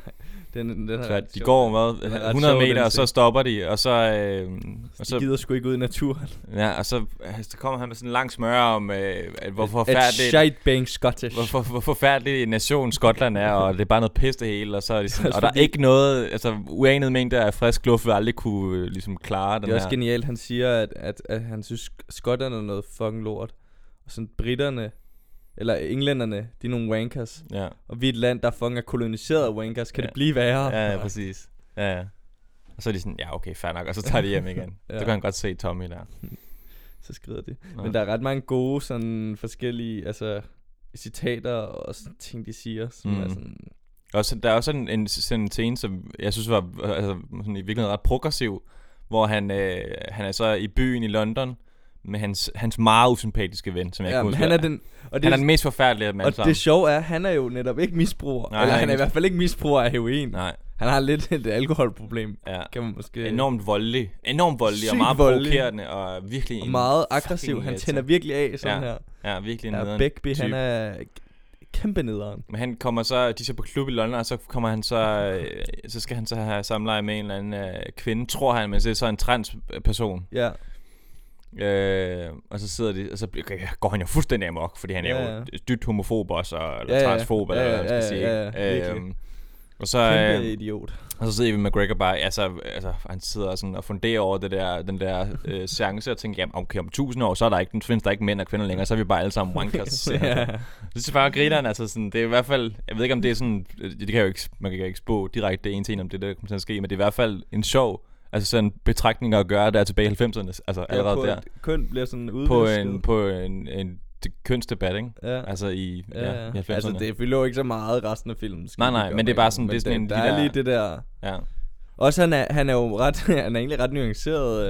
S2: den, den er
S1: Så
S2: ret
S1: de
S2: sjov.
S1: går
S2: Den er
S1: hvad,
S2: ret
S1: 100
S2: sjov, den
S1: meter, og så
S2: scene.
S1: stopper de, og så, øh, og
S2: De
S1: så,
S2: gider sgu ikke ud i naturen.
S1: ja, og så, altså, så kommer han med sådan en lang smøre om, øh, at hvor
S2: At
S1: forfærdeligt
S2: shite bang Scottish.
S1: hvor, hvor, hvor forfærdelig en nation Skotland er, og det er bare noget pisse det hele, og, så er det sådan,
S2: også
S1: og der er
S2: fordi-
S1: ikke noget, altså uanede mængder af frisk luft vil aldrig kunne øh, ligesom klare den
S2: Det er også
S1: her.
S2: genialt, han siger, at, at, at han synes, skotterne er noget fucking lort. Og sådan britterne, eller englænderne, de er nogle wankers.
S1: Ja,
S2: Og vi er et land, der fucking er koloniseret af wankers. Kan
S1: Ja.
S2: det blive værre?
S1: ja, ja, præcis. Ja, ja. Og så er de sådan, ja okay, fair nok, og så tager de hjem igen.
S2: Ja.
S1: ja. Så kan han godt se Tommy der.
S2: Så skrider det.
S1: Nå.
S2: Men der er ret mange gode sådan forskellige altså, citater og sådan, ting, de siger, som mm. er
S1: Mm.
S2: sådan...
S1: Og så, der er også en, en, sådan en scene, som jeg synes var altså, sådan i virkeligheden ret progressiv, hvor han, øh, han er så i byen i London med hans, hans meget usympatiske ven, som jeg
S2: Ja,
S1: ikke
S2: men
S1: husker.
S2: han er den... Og det,
S1: han er den mest forfærdelige af dem alle
S2: og
S1: sammen.
S2: det sjove er, at han er jo netop ikke misbruger.
S1: Nej,
S2: Nej, eller
S1: han er
S2: han er i
S1: ikke
S2: hvert fald ikke misbruger af heroin. Nej.
S1: Nej,
S2: Han har lidt et alkoholproblem,
S1: ja.
S2: kan man måske...
S1: Enormt voldelig. Enormt voldelig og
S2: Sygt
S1: meget
S2: voldelig.
S1: provokerende og virkelig
S2: og
S1: en-
S2: meget aggressiv. Han
S1: irriterende.
S2: tænder virkelig af sådan
S1: Ja.
S2: her.
S1: Ja, virkelig en
S2: Ja,
S1: nederen
S2: Bækby, han
S1: type.
S2: er kæmpe nederen.
S1: Men han kommer så, de er så på klub i London, og så kommer han så, øh, så skal han så have samleje med en eller anden øh, kvinde, tror han, men det er så en transperson.
S2: Ja,
S1: Øh, og så sidder de, og så bliver- går han jo fuldstændig amok, fordi han er
S2: Ja,
S1: jo
S2: ja.
S1: dybt homofob også, og, eller
S2: Ja,
S1: ja,
S2: ja.
S1: transfob, eller
S2: Ja,
S1: hvad man skal
S2: ja,
S1: sige.
S2: ja, ja,
S1: ikke? Øhm,
S2: virkelig.
S1: og så,
S2: kæmpe
S1: øh,
S2: idiot.
S1: og så sidder vi med McGregor bare, altså, altså han sidder sådan og funderer over det der, den der øh, seance, og tænker, jamen okay, om tusind år, så er der ikke, den findes der ikke mænd og kvinder længere, så er vi bare alle sammen wankers. ja.
S2: ja.
S1: Det er bare grineren, altså sådan, det er i hvert fald, jeg ved ikke om det er sådan, øh, det kan jeg jo ikke, man kan jo ikke spå direkte en til en om det der kommer til at ske, men det er i hvert fald en sjov, altså sådan betragtninger at gøre der tilbage i 90'erne, altså allerede
S2: på
S1: der
S2: et- Køn bliver sådan
S1: på
S2: udvisket.
S1: en, på en, en d- kønsdebat, ikke?
S2: Ja.
S1: Altså i, ja, ja, i 90'erne.
S2: Altså, det fylder jo ikke så meget resten af filmen. skal
S1: Nej,
S2: vi
S1: nej,
S2: lige
S1: men det er
S2: gøre
S1: bare
S2: opmærksom
S1: sådan,
S2: på.
S1: det er sådan
S2: Men
S1: en-
S2: der,
S1: de
S2: der er
S1: der-
S2: lige det der...
S1: ja.
S2: Også han er, han er jo ret... han er egentlig ret nuanceret,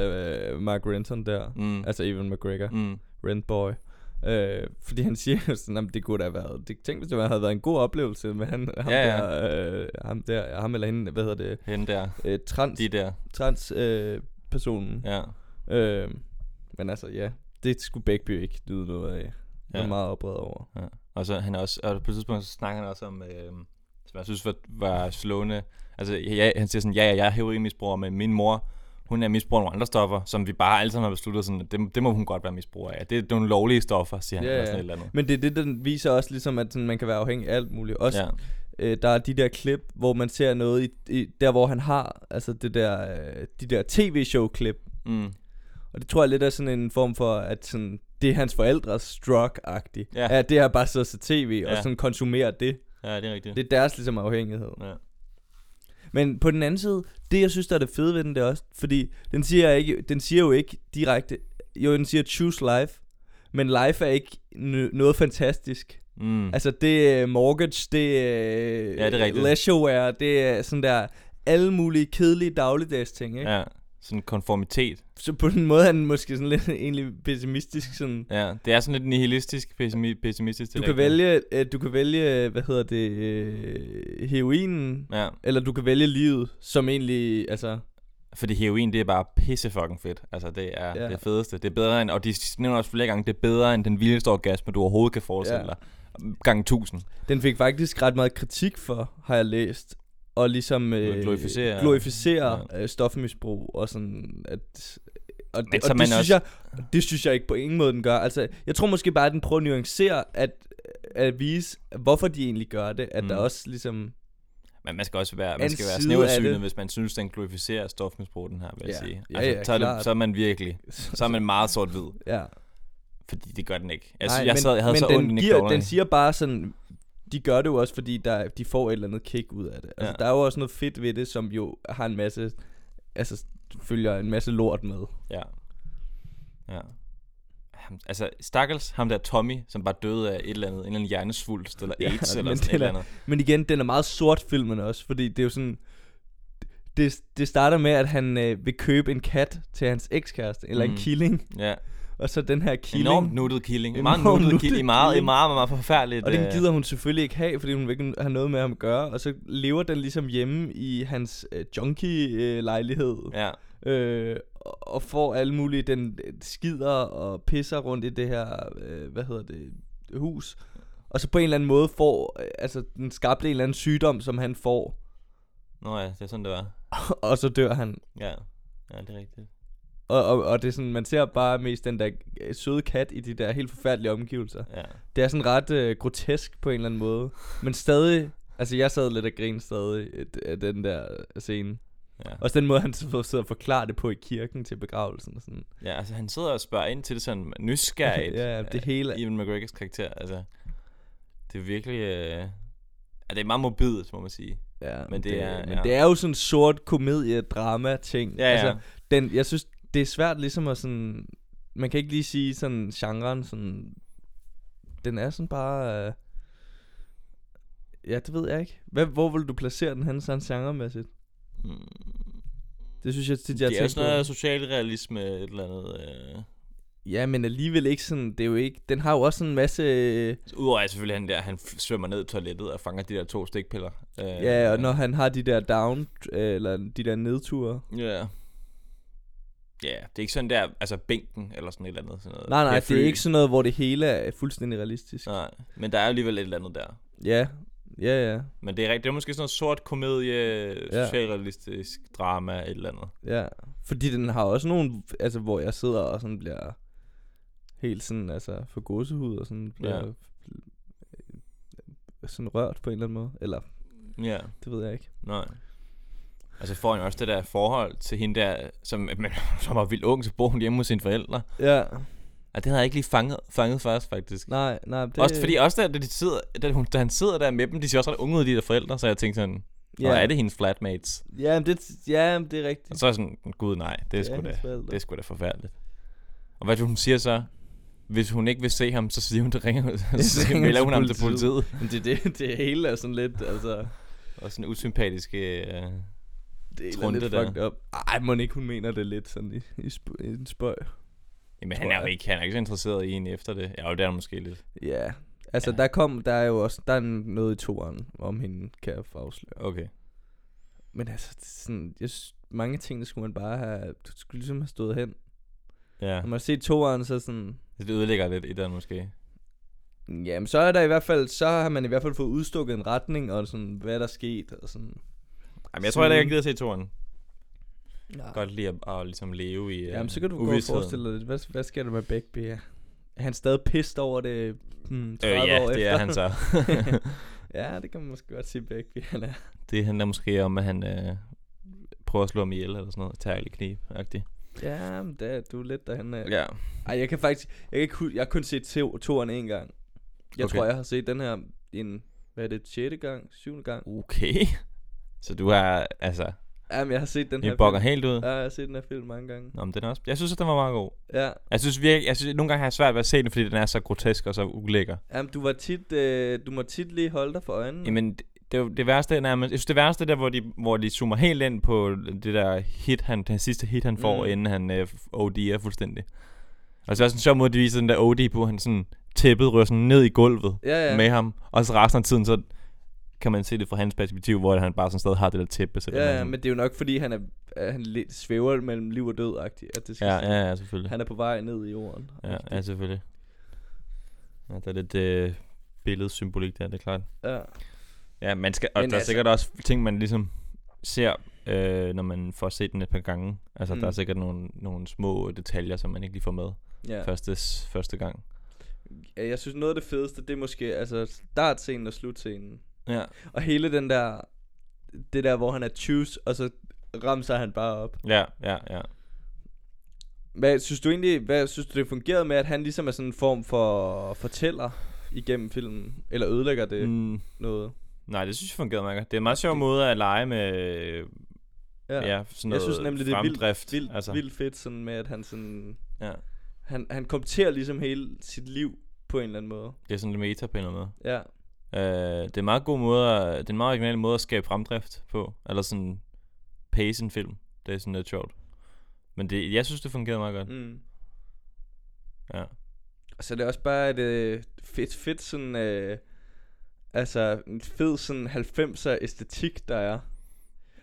S2: øh, Mark Renton der.
S1: Mm.
S2: Altså Evan McGregor, mm.
S1: Mm.
S2: Rentboy. Øh, fordi han siger jo sådan, at det kunne da have været... Det, tænk, hvis det havde været en god oplevelse med han, ham,
S1: Ja, ja.
S2: Der, øh, ham der... Ham eller hende, hvad hedder det?
S1: Hende der,
S2: Øh, trans,
S1: de der,
S2: trans øh, personen.
S1: ja.
S2: Øh, men altså, ja. Det skulle Bækby ikke nyde noget af. Ja.
S1: Ja.
S2: Er meget oprevet over.
S1: Og så han er også, og på et tidspunkt så snakker han også om, øh, som jeg synes var, var slående, altså ja, han siger sådan, ja, ja, jeg er heroinmisbruger, men min mor, hun er misbruger af nogle andre stoffer, som vi bare alle sammen har besluttet sådan, at det, det må hun godt være misbruger af. Det er nogle lovlige stoffer, siger han,
S2: Ja,
S1: yeah, eller
S2: ja.
S1: sådan et eller andet.
S2: Men det er det, den viser også ligesom, at sådan, man kan være afhængig af alt muligt. Også, ja.
S1: Ja.
S2: øh, der er de der klip, hvor man ser noget i, i der, hvor han har, altså det der, øh, de der tv-show-klip.
S1: Mm.
S2: Og det tror jeg lidt er sådan en form for, at sådan, det er hans forældres drug-agtigt.
S1: Ja.
S2: Ja. At det har bare siddet til tv og
S1: Ja.
S2: sådan konsumerer det.
S1: ja, det er rigtigt.
S2: Det er deres ligesom afhængighed.
S1: Ja.
S2: Men på den anden side, det jeg synes, der er det fede ved den, det er også, fordi den siger, ikke, den siger jo ikke direkte, jo den siger choose life, men life er ikke n- noget fantastisk.
S1: Mm.
S2: Altså det er mortgage, det er,
S1: Ja, det er rigtigt.
S2: leisureware, det er sådan der alle mulige kedelige dagligdags ting, ikke? Ja.
S1: ja, sådan konformitet.
S2: Så på den måde er den måske sådan lidt egentlig pessimistisk sådan.
S1: Ja, det er sådan lidt nihilistisk, pessimi- pessimistisk. det
S2: Du
S1: er rigtigt.
S2: kan vælge, øh, du kan vælge, øh, hvad hedder det, øh, heroinen, ja.
S1: Ja,
S2: eller du kan vælge livet, som egentlig, altså,
S1: fordi heroin, det er bare pisse fucking fedt. Altså, det er
S2: Ja.
S1: ja. det fedeste. Det er bedre end, og de nævner også flere gange, det er bedre end den vildeste orgasme, du overhovedet kan forestille
S2: Ja.
S1: ja. dig. Gange tusind.
S2: den fik faktisk ret meget kritik for, har jeg læst, og ligesom øh,
S1: Glorificere-
S2: glorificere ja. øh, stofmisbrug og sådan, at og det,
S1: Men så
S2: og
S1: man
S2: det, synes
S1: også-
S2: jeg, det synes jeg ikke på ingen måde, den gør. Altså, jeg tror måske bare, at den prøver at nuancere, at, at vise, hvorfor de egentlig gør det. At mm.
S1: Mm.
S2: der også ligesom...
S1: Men man skal også være,
S2: En
S1: man skal være
S2: side af
S1: snæversynet,
S2: det.
S1: hvis man synes, den glorificerer stofmisbrug, den her, vil jeg
S2: Ja.
S1: sige.
S2: Ja,
S1: Altså,
S2: ja,
S1: så, er
S2: klart.
S1: det, så er man virkelig, så er man meget sort-hvid.
S2: Ja,
S1: Fordi det gør den ikke. Altså, Nej, jeg, sad, jeg havde
S2: men
S1: så
S2: den,
S1: ondt i
S2: giver,
S1: knoglerne.
S2: den siger bare sådan, de gør det jo også, fordi der, de får et eller andet kick ud af det. Altså,
S1: Ja.
S2: ja. Der er jo også noget fedt ved det, som jo har en masse, altså følger en masse lort med.
S1: Ja. Ja. Ham, altså, stakkels ham der Tommy, som bare døde af et eller andet, en eller anden hjernesvulst, eller
S2: Ja,
S1: AIDS, ja, eller
S2: men
S1: sådan et
S2: det
S1: eller
S2: er-
S1: andet.
S2: Men igen, den er meget sort filmen også, fordi det er jo sådan... Det, det starter med, at han øh, vil købe en kat til hans ekskæreste, eller mm.
S1: Mm.
S2: en killing,
S1: Ja.
S2: og så den her killing.
S1: Enormt nuttet killing.
S2: Enormt
S1: Meget nuttet
S2: nuttet
S1: killing. Meget, meget,
S2: killing.
S1: meget, meget forfærdeligt.
S2: Og den
S1: øh,
S2: gider hun selvfølgelig ikke have, fordi hun vil ikke have noget med ham at gøre. Og så lever den ligesom hjemme i hans øh, junkie-lejlighed.
S1: Ja.
S2: Øh, og, og får alle mulige, den øh, skider og pisser rundt i det her, øh, hvad hedder det, hus. Og så på en eller anden måde får, øh, altså den skabte en eller anden sygdom, som han får.
S1: Nå ja, det er sådan, det var.
S2: Og så dør han.
S1: Ja. Ja, det er rigtigt.
S2: Og, og, og det er sådan, man ser bare mest den der øh, søde kat i de der helt forfærdelige omgivelser.
S1: Ja.
S2: Det er sådan ret øh, grotesk på en eller anden måde. Men stadig, altså jeg sad lidt og grinede stadig øh, d- af den der øh, scene.
S1: Ja.
S2: Også den måde, han så- sidder og forklarer det på i kirken til begravelsen og sådan.
S1: ja, altså han sidder og spørger ind til det sådan nysgerrigt.
S2: Ja, ja, det
S1: øh,
S2: hele er-
S1: Ewan McGregors karakter, altså. Det er virkelig... Øh... Ja, det er meget morbidt, må man sige.
S2: Ja,
S1: Men det er-
S2: men
S1: ja.
S2: det er jo sådan en sort komedie-drama-ting.
S1: Ja, ja.
S2: Altså, den, jeg synes, det er svært ligesom at sådan... Man kan ikke lige sige sådan genren sådan... Den er sådan bare... Øh, ja, det ved jeg ikke. Hvad, hvor vil du placere den hen sådan genremæssigt?
S1: Mm.
S2: Det synes jeg tit, jeg har
S1: Det er
S2: tænkt
S1: sådan noget
S2: på.
S1: socialrealisme, et eller andet... Øh...
S2: Ja, men alligevel ikke sådan... Det er jo ikke... Den har jo også sådan en masse... Øh,
S1: Udover at selvfølgelig han der, han f- svømmer ned i toilettet og fanger de der to stikpiller. Øh,
S2: ja, og når han har de der down... Øh, eller de der nedture.
S1: Ja. Ja, det er ikke sådan der, altså bænken eller sådan et eller andet. Sådan noget.
S2: Nej, nej,
S1: Café.
S2: det er ikke sådan noget, hvor det hele er fuldstændig realistisk.
S1: Nej, men der er alligevel et eller andet der.
S2: Ja, ja, ja.
S1: Men det er, rigtigt, det er måske sådan noget sort komedie,
S2: Ja.
S1: socialrealistisk drama, et eller andet.
S2: Ja, fordi den har også nogle, altså hvor jeg sidder og sådan bliver helt sådan, altså for gåsehud og sådan bliver
S1: Ja.
S2: ja. sådan rørt på en eller anden måde. Eller,
S1: Ja,
S2: det ved jeg ikke.
S1: nej. Og så får han også det der forhold til hende der, som, men, som var vildt ung, så bor hun hjemme hos sine forældre.
S2: Ja,
S1: Og det havde jeg ikke lige fanget, fanget først, faktisk.
S2: nej, nej. Det,
S1: Det... Også fordi også da, da, de sidder, da, hun, da han sidder der med dem, de ser også ret unge ud, de der forældre, så jeg tænkte sådan,
S2: ja,
S1: yeah. er det hendes flatmates?
S2: Ja, men det, ja, men det er rigtigt.
S1: Og så er jeg sådan, gud nej, det er,
S2: Det er
S1: sgu da,
S2: hendes forældre.
S1: det er sgu da forfærdeligt. Og hvad er det, hun siger så? Hvis hun ikke vil se ham, så siger hun, det ringer, så
S2: ringer
S1: melder
S2: til
S1: hun ham til politiet.
S2: Men det, det, det hele er sådan lidt, altså,
S1: Og sådan usympatisk... Øh,
S2: det er
S1: Trunte
S2: Trunte lidt
S1: der.
S2: fucked up. Ej, må ikke, hun mener det lidt sådan i, i, sp- i en spøj.
S1: jamen,
S2: Tror
S1: han er jo
S2: jeg.
S1: ikke, han er ikke så interesseret i en efter det. Ja, jo, det er han måske lidt.
S2: Ja, altså
S1: Ja.
S2: der kom, der er jo også, der er noget i toeren, om hende kan jeg få afsløre.
S1: Okay.
S2: Men altså, det er sådan, jeg synes, mange ting, der skulle man bare have, du skulle ligesom have stået hen.
S1: Ja,
S2: Når man ser toeren, så sådan,
S1: det ødelægger lidt i den måske.
S2: jamen så er der i hvert fald, så har man i hvert fald fået udstukket en retning, og sådan, hvad der skete, og sådan.
S1: Jamen, jeg tror heller
S2: Sådan-
S1: ikke, jeg gider se toren.
S2: Ja.
S1: Godt lige at, at ligesom leve i øh,
S2: Jamen, så kan du gå og
S1: uvisheden.
S2: forestille dig, lidt, hvad, hvad sker der med Beck Er han stadig pissed over det hmm, 30
S1: Øh,
S2: år
S1: ja,
S2: efter?
S1: det er han så.
S2: ja, det kan man måske godt sige, Beck han er.
S1: Det handler måske om, at han øh, prøver at slå ham ihjel eller sådan noget. Tager alle kniv -agtigt.
S2: Ja, men det er, du er lidt derhen af.
S1: Ja.
S2: Ej, jeg kan faktisk... Jeg, kan ikke, hu- jeg har kun set to, toeren en gang. Jeg
S1: Okay.
S2: okay. tror, jeg har set den her en... Hvad er det? 6. gang? 7. gang?
S1: Okay. Så du har, altså,
S2: Jamen, jeg har set den her
S1: det bokker
S2: film.
S1: helt ud.
S2: Ja, jeg har set den her film mange gange.
S1: Nå, men den er også, jeg synes, at den var meget god.
S2: Ja,
S1: Jeg synes virkelig, jeg synes, nogle gange har jeg svært ved at se den, fordi den er så grotesk og så ulækker.
S2: jamen, du var tit... Øh, du må tit lige holde dig for øjnene.
S1: Jamen, det, det, er jo- det værste er, nærmest- jeg synes, det værste er der, hvor de, hvor de zoomer helt ind på det der hit, han, den sidste hit, han får, mm.
S2: Mm.
S1: inden han øh, OD'er fuldstændig. Og så er det også en sjov måde, de viser den der OD på, han sådan tæppet ryger sådan ned i gulvet.
S2: ja,
S1: ja.
S2: ja.
S1: med ham. Og så resten af tiden, så kan man se det fra hans perspektiv, hvor han bare sådan stadig har det der tæppe. Så
S2: ja, ja, men det er jo nok, fordi han er... øh, han lidt svæver mellem liv og død -agtig, at det skal
S1: ja, ja, ja, selvfølgelig.
S2: Han er på vej ned i jorden.
S1: Ja, altså- ja, selvfølgelig. Ja, der er lidt øh, billedsymbolik der, det er klart.
S2: ja.
S1: Ja, man skal, og
S2: Men
S1: der er
S2: altså-
S1: sikkert også ting, man ligesom ser, øh, når man får set den et par gange. Altså, mm. der er
S2: Mm.
S1: sikkert nogle, nogle små detaljer, som man ikke lige får med ja.
S2: ja.
S1: første, s- første gang.
S2: Ja, Jeg synes, noget af det fedeste, det er måske altså startscenen og slutscenen.
S1: Ja,
S2: Og hele den der, det der, hvor han er choose, og så ramser han bare op.
S1: ja, ja, ja.
S2: Hvad synes du egentlig, hvad synes du det fungerede med, at han ligesom er sådan en form for fortæller igennem filmen? Eller ødelægger det mm.
S1: Mm,
S2: noget?
S1: nej, det synes jeg fungerede meget godt. Det er en meget sjov måde at lege med ja, ja sådan noget
S2: jeg synes nemlig, det er
S1: fremdrift,
S2: vildt, vildt, altså.
S1: altså.
S2: vildt fedt sådan med, at han sådan...
S1: Ja.
S2: Han, han kommenterer ligesom hele sit liv på en eller anden måde.
S1: Det er sådan lidt meta på en eller anden måde.
S2: Ja.
S1: Øh, det er en meget god måde at, det er en meget original måde at skabe fremdrift på. Eller sådan pace en film. Det er sådan lidt sjovt. Men det, jeg synes, det fungerede meget godt.
S2: Mm.
S1: Ja.
S2: Og så er det også bare et øh, fedt, fedt sådan... Øh, altså, en fed sådan 90'er æstetik, der er.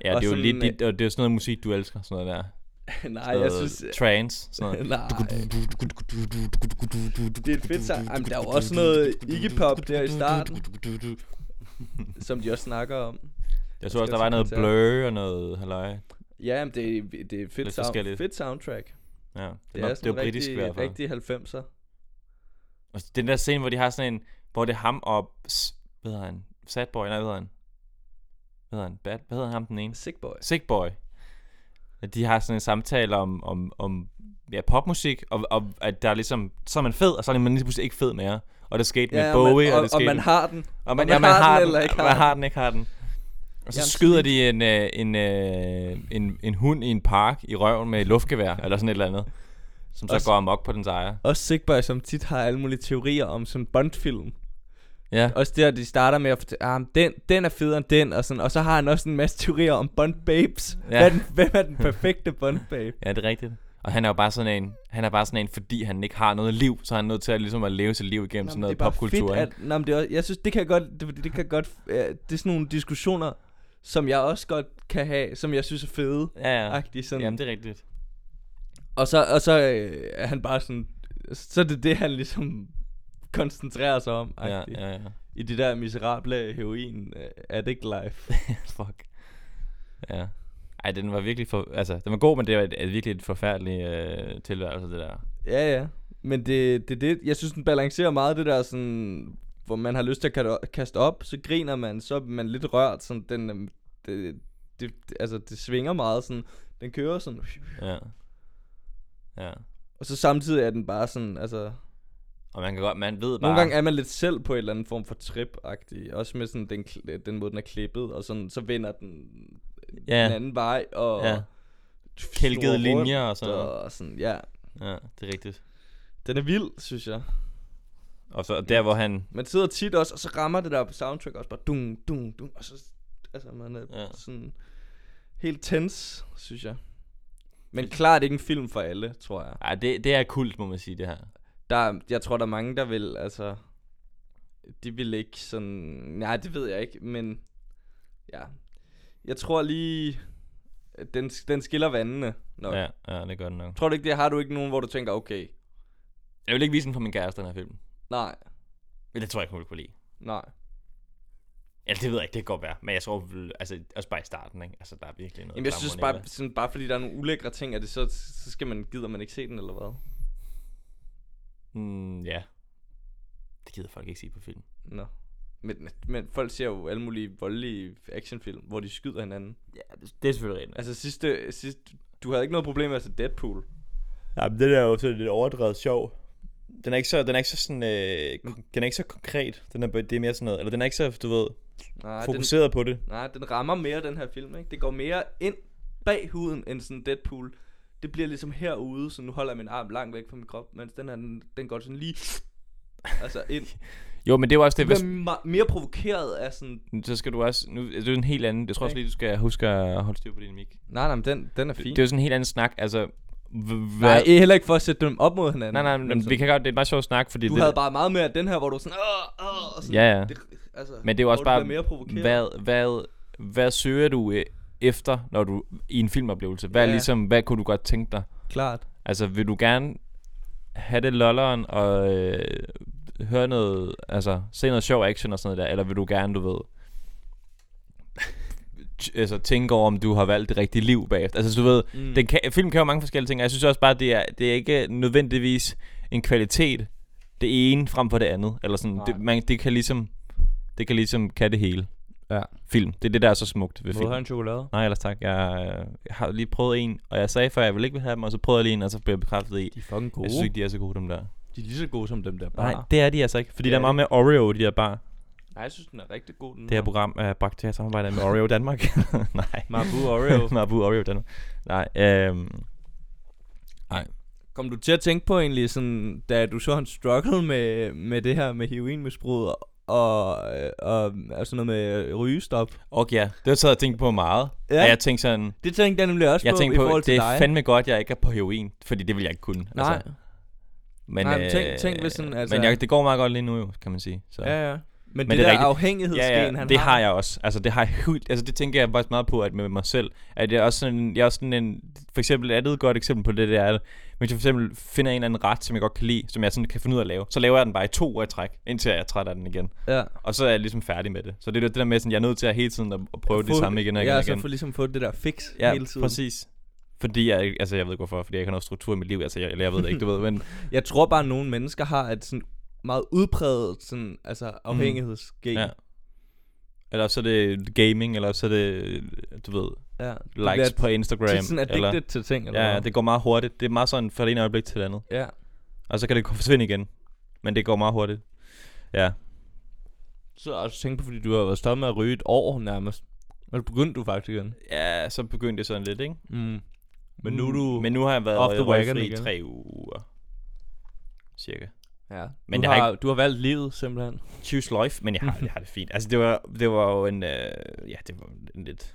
S1: Ja,
S2: Og
S1: det er jo
S2: sådan,
S1: lidt dit, og det er jo sådan noget musik, du elsker, sådan noget der.
S2: Nej,
S1: Sådan
S2: jeg
S1: noget
S2: synes... øh,
S1: Trance, sådan noget.
S2: Nej. Det er et fedt sang. Jamen, der er jo også noget Iggy-pop der i starten, som de også snakker om.
S1: Jeg så også, der
S2: skal
S1: var noget
S2: også til
S1: Blur og noget halløj.
S2: Ja, men det, er- det er et fedt,
S1: Lidt
S2: sound,
S1: forskelligt.
S2: fedt soundtrack.
S1: Ja,
S2: Det
S1: det, var, det
S2: er
S1: var
S2: sådan
S1: britisk i hvert
S2: rigtig,
S1: fald.
S2: rigtig 90'er.
S1: Og den der scene, hvor de har sådan en, hvor det er ham og, s- hvad hedder han, Sad Boy, nej, hvad hedder han? Hvad hedder han? Bad, hvad hedder ham den ene?
S2: Sick boy.
S1: Sick Boy. At de har sådan en samtale om, om, om ja, popmusik, og, og at der er ligesom, så er man fed, og så er man lige pludselig ikke fed mere. Og det skete med
S2: og,
S1: Bowie,
S2: man,
S1: og,
S2: og,
S1: det
S2: og
S1: skete
S2: man har den.
S1: og
S2: om
S1: man,
S2: man
S1: ja, man
S2: har
S1: har, den,
S2: den eller ikke har
S1: man
S2: den.
S1: har den, ikke har den. Og så
S2: Jamen,
S1: skyder de en, øh, en, øh, en, en hund i en park i røven med et luftgevær, eller sådan et eller andet, som så
S2: Også-
S1: går amok på dens ejer.
S2: Også Sick Boy, som tit har alle mulige teorier om sådan Bond-film.
S1: Ja,
S2: Også der, de starter med at fortælle, ah, men den, den er federe end den, og, sådan, og så har han også en masse teorier om Bond-babes. Ja.
S1: Ja.
S2: Hvad er den, hvem er den perfekte Bond-babe?
S1: ja, det er rigtigt. Og han er jo bare sådan en, han er bare sådan en, fordi han ikke har noget liv, så er han nødt til at, ligesom at leve sit liv igennem sådan
S2: Nå, men
S1: noget
S2: det er bare
S1: popkultur.
S2: Fedt,
S1: ikke?
S2: at, nå, men det er, også- jeg synes, det kan godt, det, fordi det kan godt, ja, det er sådan nogle diskussioner, som jeg også godt kan have, som jeg synes er fede.
S1: Ja, ja.
S2: Agtig, sådan.
S1: Jamen, det er rigtigt.
S2: Og så, og så øh, er han bare sådan, så er det det, han ligesom koncentrerer sig om.
S1: Ja,
S2: agtig.
S1: ja, ja.
S2: I det der miserable heroin øh, addict life.
S1: Fuck. Ja. Ej, den var virkelig for... Altså, den var god, men det var et, et virkelig et forfærdeligt øh, tilværelse, det der.
S2: ja, ja. Men det, det, det, jeg synes, den balancerer meget det der sådan, hvor man har lyst til at kat- kaste op, så griner man, så er man lidt rørt, sådan den, øhm, det, det, det, altså det svinger meget, sådan, den kører sådan,
S1: Ja. Ja.
S2: og så samtidig er den bare sådan, altså,
S1: Og man kan godt... Man ved bare...
S2: Nogle gange er man lidt selv på en eller anden form for trip-agtig. Også med sådan den, kl- den måde, den er klippet, og sådan, så vender den ja.
S1: Ja.
S2: den anden vej, og...
S1: Ja.
S2: snurrer
S1: Kælkede
S2: rundt,
S1: linjer og sådan noget.
S2: Og sådan, ja.
S1: Ja, det er rigtigt.
S2: Den er vild, synes jeg.
S1: Og så der, hvor han...
S2: Man sidder tit også, og så rammer det der på soundtrack også bare dung, dung, dung, og så... Altså, man er ja.
S1: Ja.
S2: sådan helt tens, synes jeg. Men klart ikke en film for alle, tror jeg.
S1: Ej, det, det er kult, må man sige, det her.
S2: Der, er- jeg tror, der er mange, der vil, altså... De vil ikke sådan... Nej, det ved jeg ikke, men... Ja. Jeg tror lige... at Den, den skiller vandene nok. Ja.
S1: Ja, ja, det gør den nok.
S2: Tror du ikke det? Har du ikke nogen, hvor du tænker, okay,
S1: Jeg vil ikke vise den for min kæreste, den her film.
S2: nej,
S1: Men det tror jeg ikke, hun vil kunne lide.
S2: nej.
S1: Eller det ved jeg ikke, det kan godt være. Men jeg tror, hun vil- altså, også bare i starten, ikke? Altså, der er virkelig noget
S2: Jamen, jeg synes
S1: glamrende i
S2: bare,
S1: det.
S2: sådan, bare fordi der er nogle ulækre ting, at det så, så skal man, gider man ikke se den, eller hvad?
S1: Mm, ja. Det gider folk ikke sige på film.
S2: Nå. Men, men folk ser jo alle mulige voldelige actionfilm, hvor de skyder hinanden.
S1: Ja, det, det er selvfølgelig rigtigt.
S2: Altså sidste, sidste du havde ikke noget problem med at se Deadpool.
S1: Ja, men den er jo sådan lidt overdrevet sjov. Den er ikke så, den er ikke så sådan, øh, kon- den er ikke så konkret. Den er, bare- det er mere sådan noget, eller den er ikke så, du ved,
S2: Nej, den,
S1: fokuseret på det.
S2: Nej, den rammer mere den her film, ikke? Det går mere ind bag huden end sådan Deadpool. Det bliver ligesom herude, så nu holder jeg min arm langt væk fra min krop, mens den her, den, den går sådan lige... altså ind.
S1: Jo, men det var også
S2: Det
S1: det, hvis,
S2: bliver me- mere provokeret af sådan...
S1: så skal du også, nu, det er jo en helt anden, jeg tror også
S2: Okay.
S1: lige, du skal huske at holde styr på din mic.
S2: Nej, nej, men den, den er
S1: Det, det er jo sådan en helt anden snak, altså, h-
S2: Nej, ikke- heller ikke for at sætte dem op mod hinanden.
S1: nej, nej, men
S2: sådan,
S1: vi kan godt, det er en meget sjov snak, fordi
S2: Du
S1: det,
S2: havde bare meget mere af den her, hvor du sådan... Åh, åh, og sådan
S1: Ja, ja.
S2: Det, altså,
S1: men det er jo også
S2: hvor du
S1: bare,
S2: bliver mere provokeret.
S1: hvad, hvad, hvad søger du øh, efter, når du i en filmoplevelse? Hvad,
S2: Ja.
S1: ja. ligesom, hvad kunne du godt tænke dig?
S2: Klart.
S1: Altså, vil du gerne have det lolleren og øh, høre noget, altså, se noget sjov action og sådan noget der, eller vil du gerne, du ved, t- altså, tænke over, om du har valgt det rigtige liv bagefter? Altså, du ved,
S2: Mm.
S1: den kan, film kan jo mange forskellige ting, og jeg synes også bare, det er, det er ikke nødvendigvis en kvalitet, det ene frem for det andet, eller sådan,
S2: Nej.
S1: det, man, det kan ligesom, det kan ligesom, kan det hele.
S2: Ja.
S1: Film. Det er det, der er så smukt ved
S2: Vil du
S1: film.
S2: have en chokolade?
S1: Nej, ellers tak. Jeg, øh, jeg har lige prøvet en, og jeg sagde før, jeg ville ikke have dem, og så prøvede jeg lige en, og så blev jeg bekræftet i.
S2: De er fucking gode.
S1: Jeg synes ikke, de er så gode, dem der.
S2: de er lige så gode som dem der
S1: Nej,
S2: bare.
S1: det er de altså ikke, fordi
S2: Det
S1: der
S2: er
S1: er meget mere Oreo i de der bar.
S2: Nej, jeg synes, den er rigtig god. Den
S1: Det her program er bragt til at samarbejde med Oreo Danmark. Nej.
S2: Marbu Oreo.
S1: Mabu Oreo Danmark. Nej, øhm,
S2: Kom du til at tænke på egentlig, sådan, da du så en struggle med, med det her med heroinmisbruget og, øh, og, og sådan noget med rygestop?
S1: og ja, det har jeg tænkt på meget. Ja. Og jeg tænkte sådan,
S2: det tænkte jeg nemlig også
S1: jeg
S2: på i
S1: tænkte på,
S2: forhold til
S1: det er
S2: dig.
S1: fandme godt, jeg ikke er på heroin, fordi det vil jeg ikke kunne.
S2: Nej,
S1: Altså, men, øh,
S2: Nej, men tænk- tænk, hvis sådan, altså-
S1: Men jeg, det går meget godt lige nu jo, kan man sige. Så.
S2: ja, ja. Men,
S1: det
S2: Men det,
S1: er
S2: det der
S1: rigtigt.
S2: afhængighedsgen,
S1: ja, ja,
S2: han
S1: det
S2: har.
S1: har jeg også. Altså det har jeg helt, altså det tænker jeg faktisk meget på at med mig selv. At jeg er også sådan, jeg er også sådan en for eksempel er det et godt eksempel på det der, at hvis jeg for eksempel finder en eller anden ret, som jeg godt kan lide, som jeg sådan kan finde ud af at lave, så laver jeg den bare i to år i træk, indtil jeg er træt af den igen.
S2: Ja.
S1: Og så er jeg ligesom færdig med det. Så det er det der med sådan, jeg er nødt til at hele tiden at at prøve det
S2: Få-
S1: samme igen og igen
S2: Ja,
S1: og
S2: så
S1: igen.
S2: for ligesom få det der fix
S1: Ja,
S2: hele tiden.
S1: præcis. Fordi jeg, ikke- altså jeg ved ikke hvorfor, fordi jeg ikke har noget struktur i mit liv, altså jeg, eller jeg ved det ikke, du ved, men
S2: Jeg tror bare, at nogle mennesker har et sådan meget udpræget sådan, altså, afhængighedsgen.
S1: Mm. Ja. eller så er det gaming, eller så er det, du ved,
S2: ja. Du
S1: likes
S2: bliver
S1: på Instagram.
S2: tit sådan addicted
S1: eller,
S2: eller? til ting. Eller
S1: Ja, ja,
S2: hvad?
S1: det går meget hurtigt. Det er meget sådan fra det ene øjeblik til det andet.
S2: ja.
S1: Og så kan det gå- forsvinde igen. Men det går meget hurtigt. Ja.
S2: Så har jeg også tænkt på, fordi du har været stoppet med at ryge et år nærmest. Og så begyndte du faktisk igen.
S1: Ja, så begyndte det sådan lidt, ikke?
S2: Mm. Men
S1: Mm.
S2: nu er du...
S1: Men nu har jeg
S2: off the
S1: været
S2: wagon
S1: røgfri i
S2: igen.
S1: tre uger. Cirka.
S2: ja.
S1: men
S2: du,
S1: jeg har
S2: har, du har valgt livet simpelthen.
S1: Choose life, men jeg har, jeg har det fint. Altså, det var, det var jo en... Øh, ja, det var en lidt...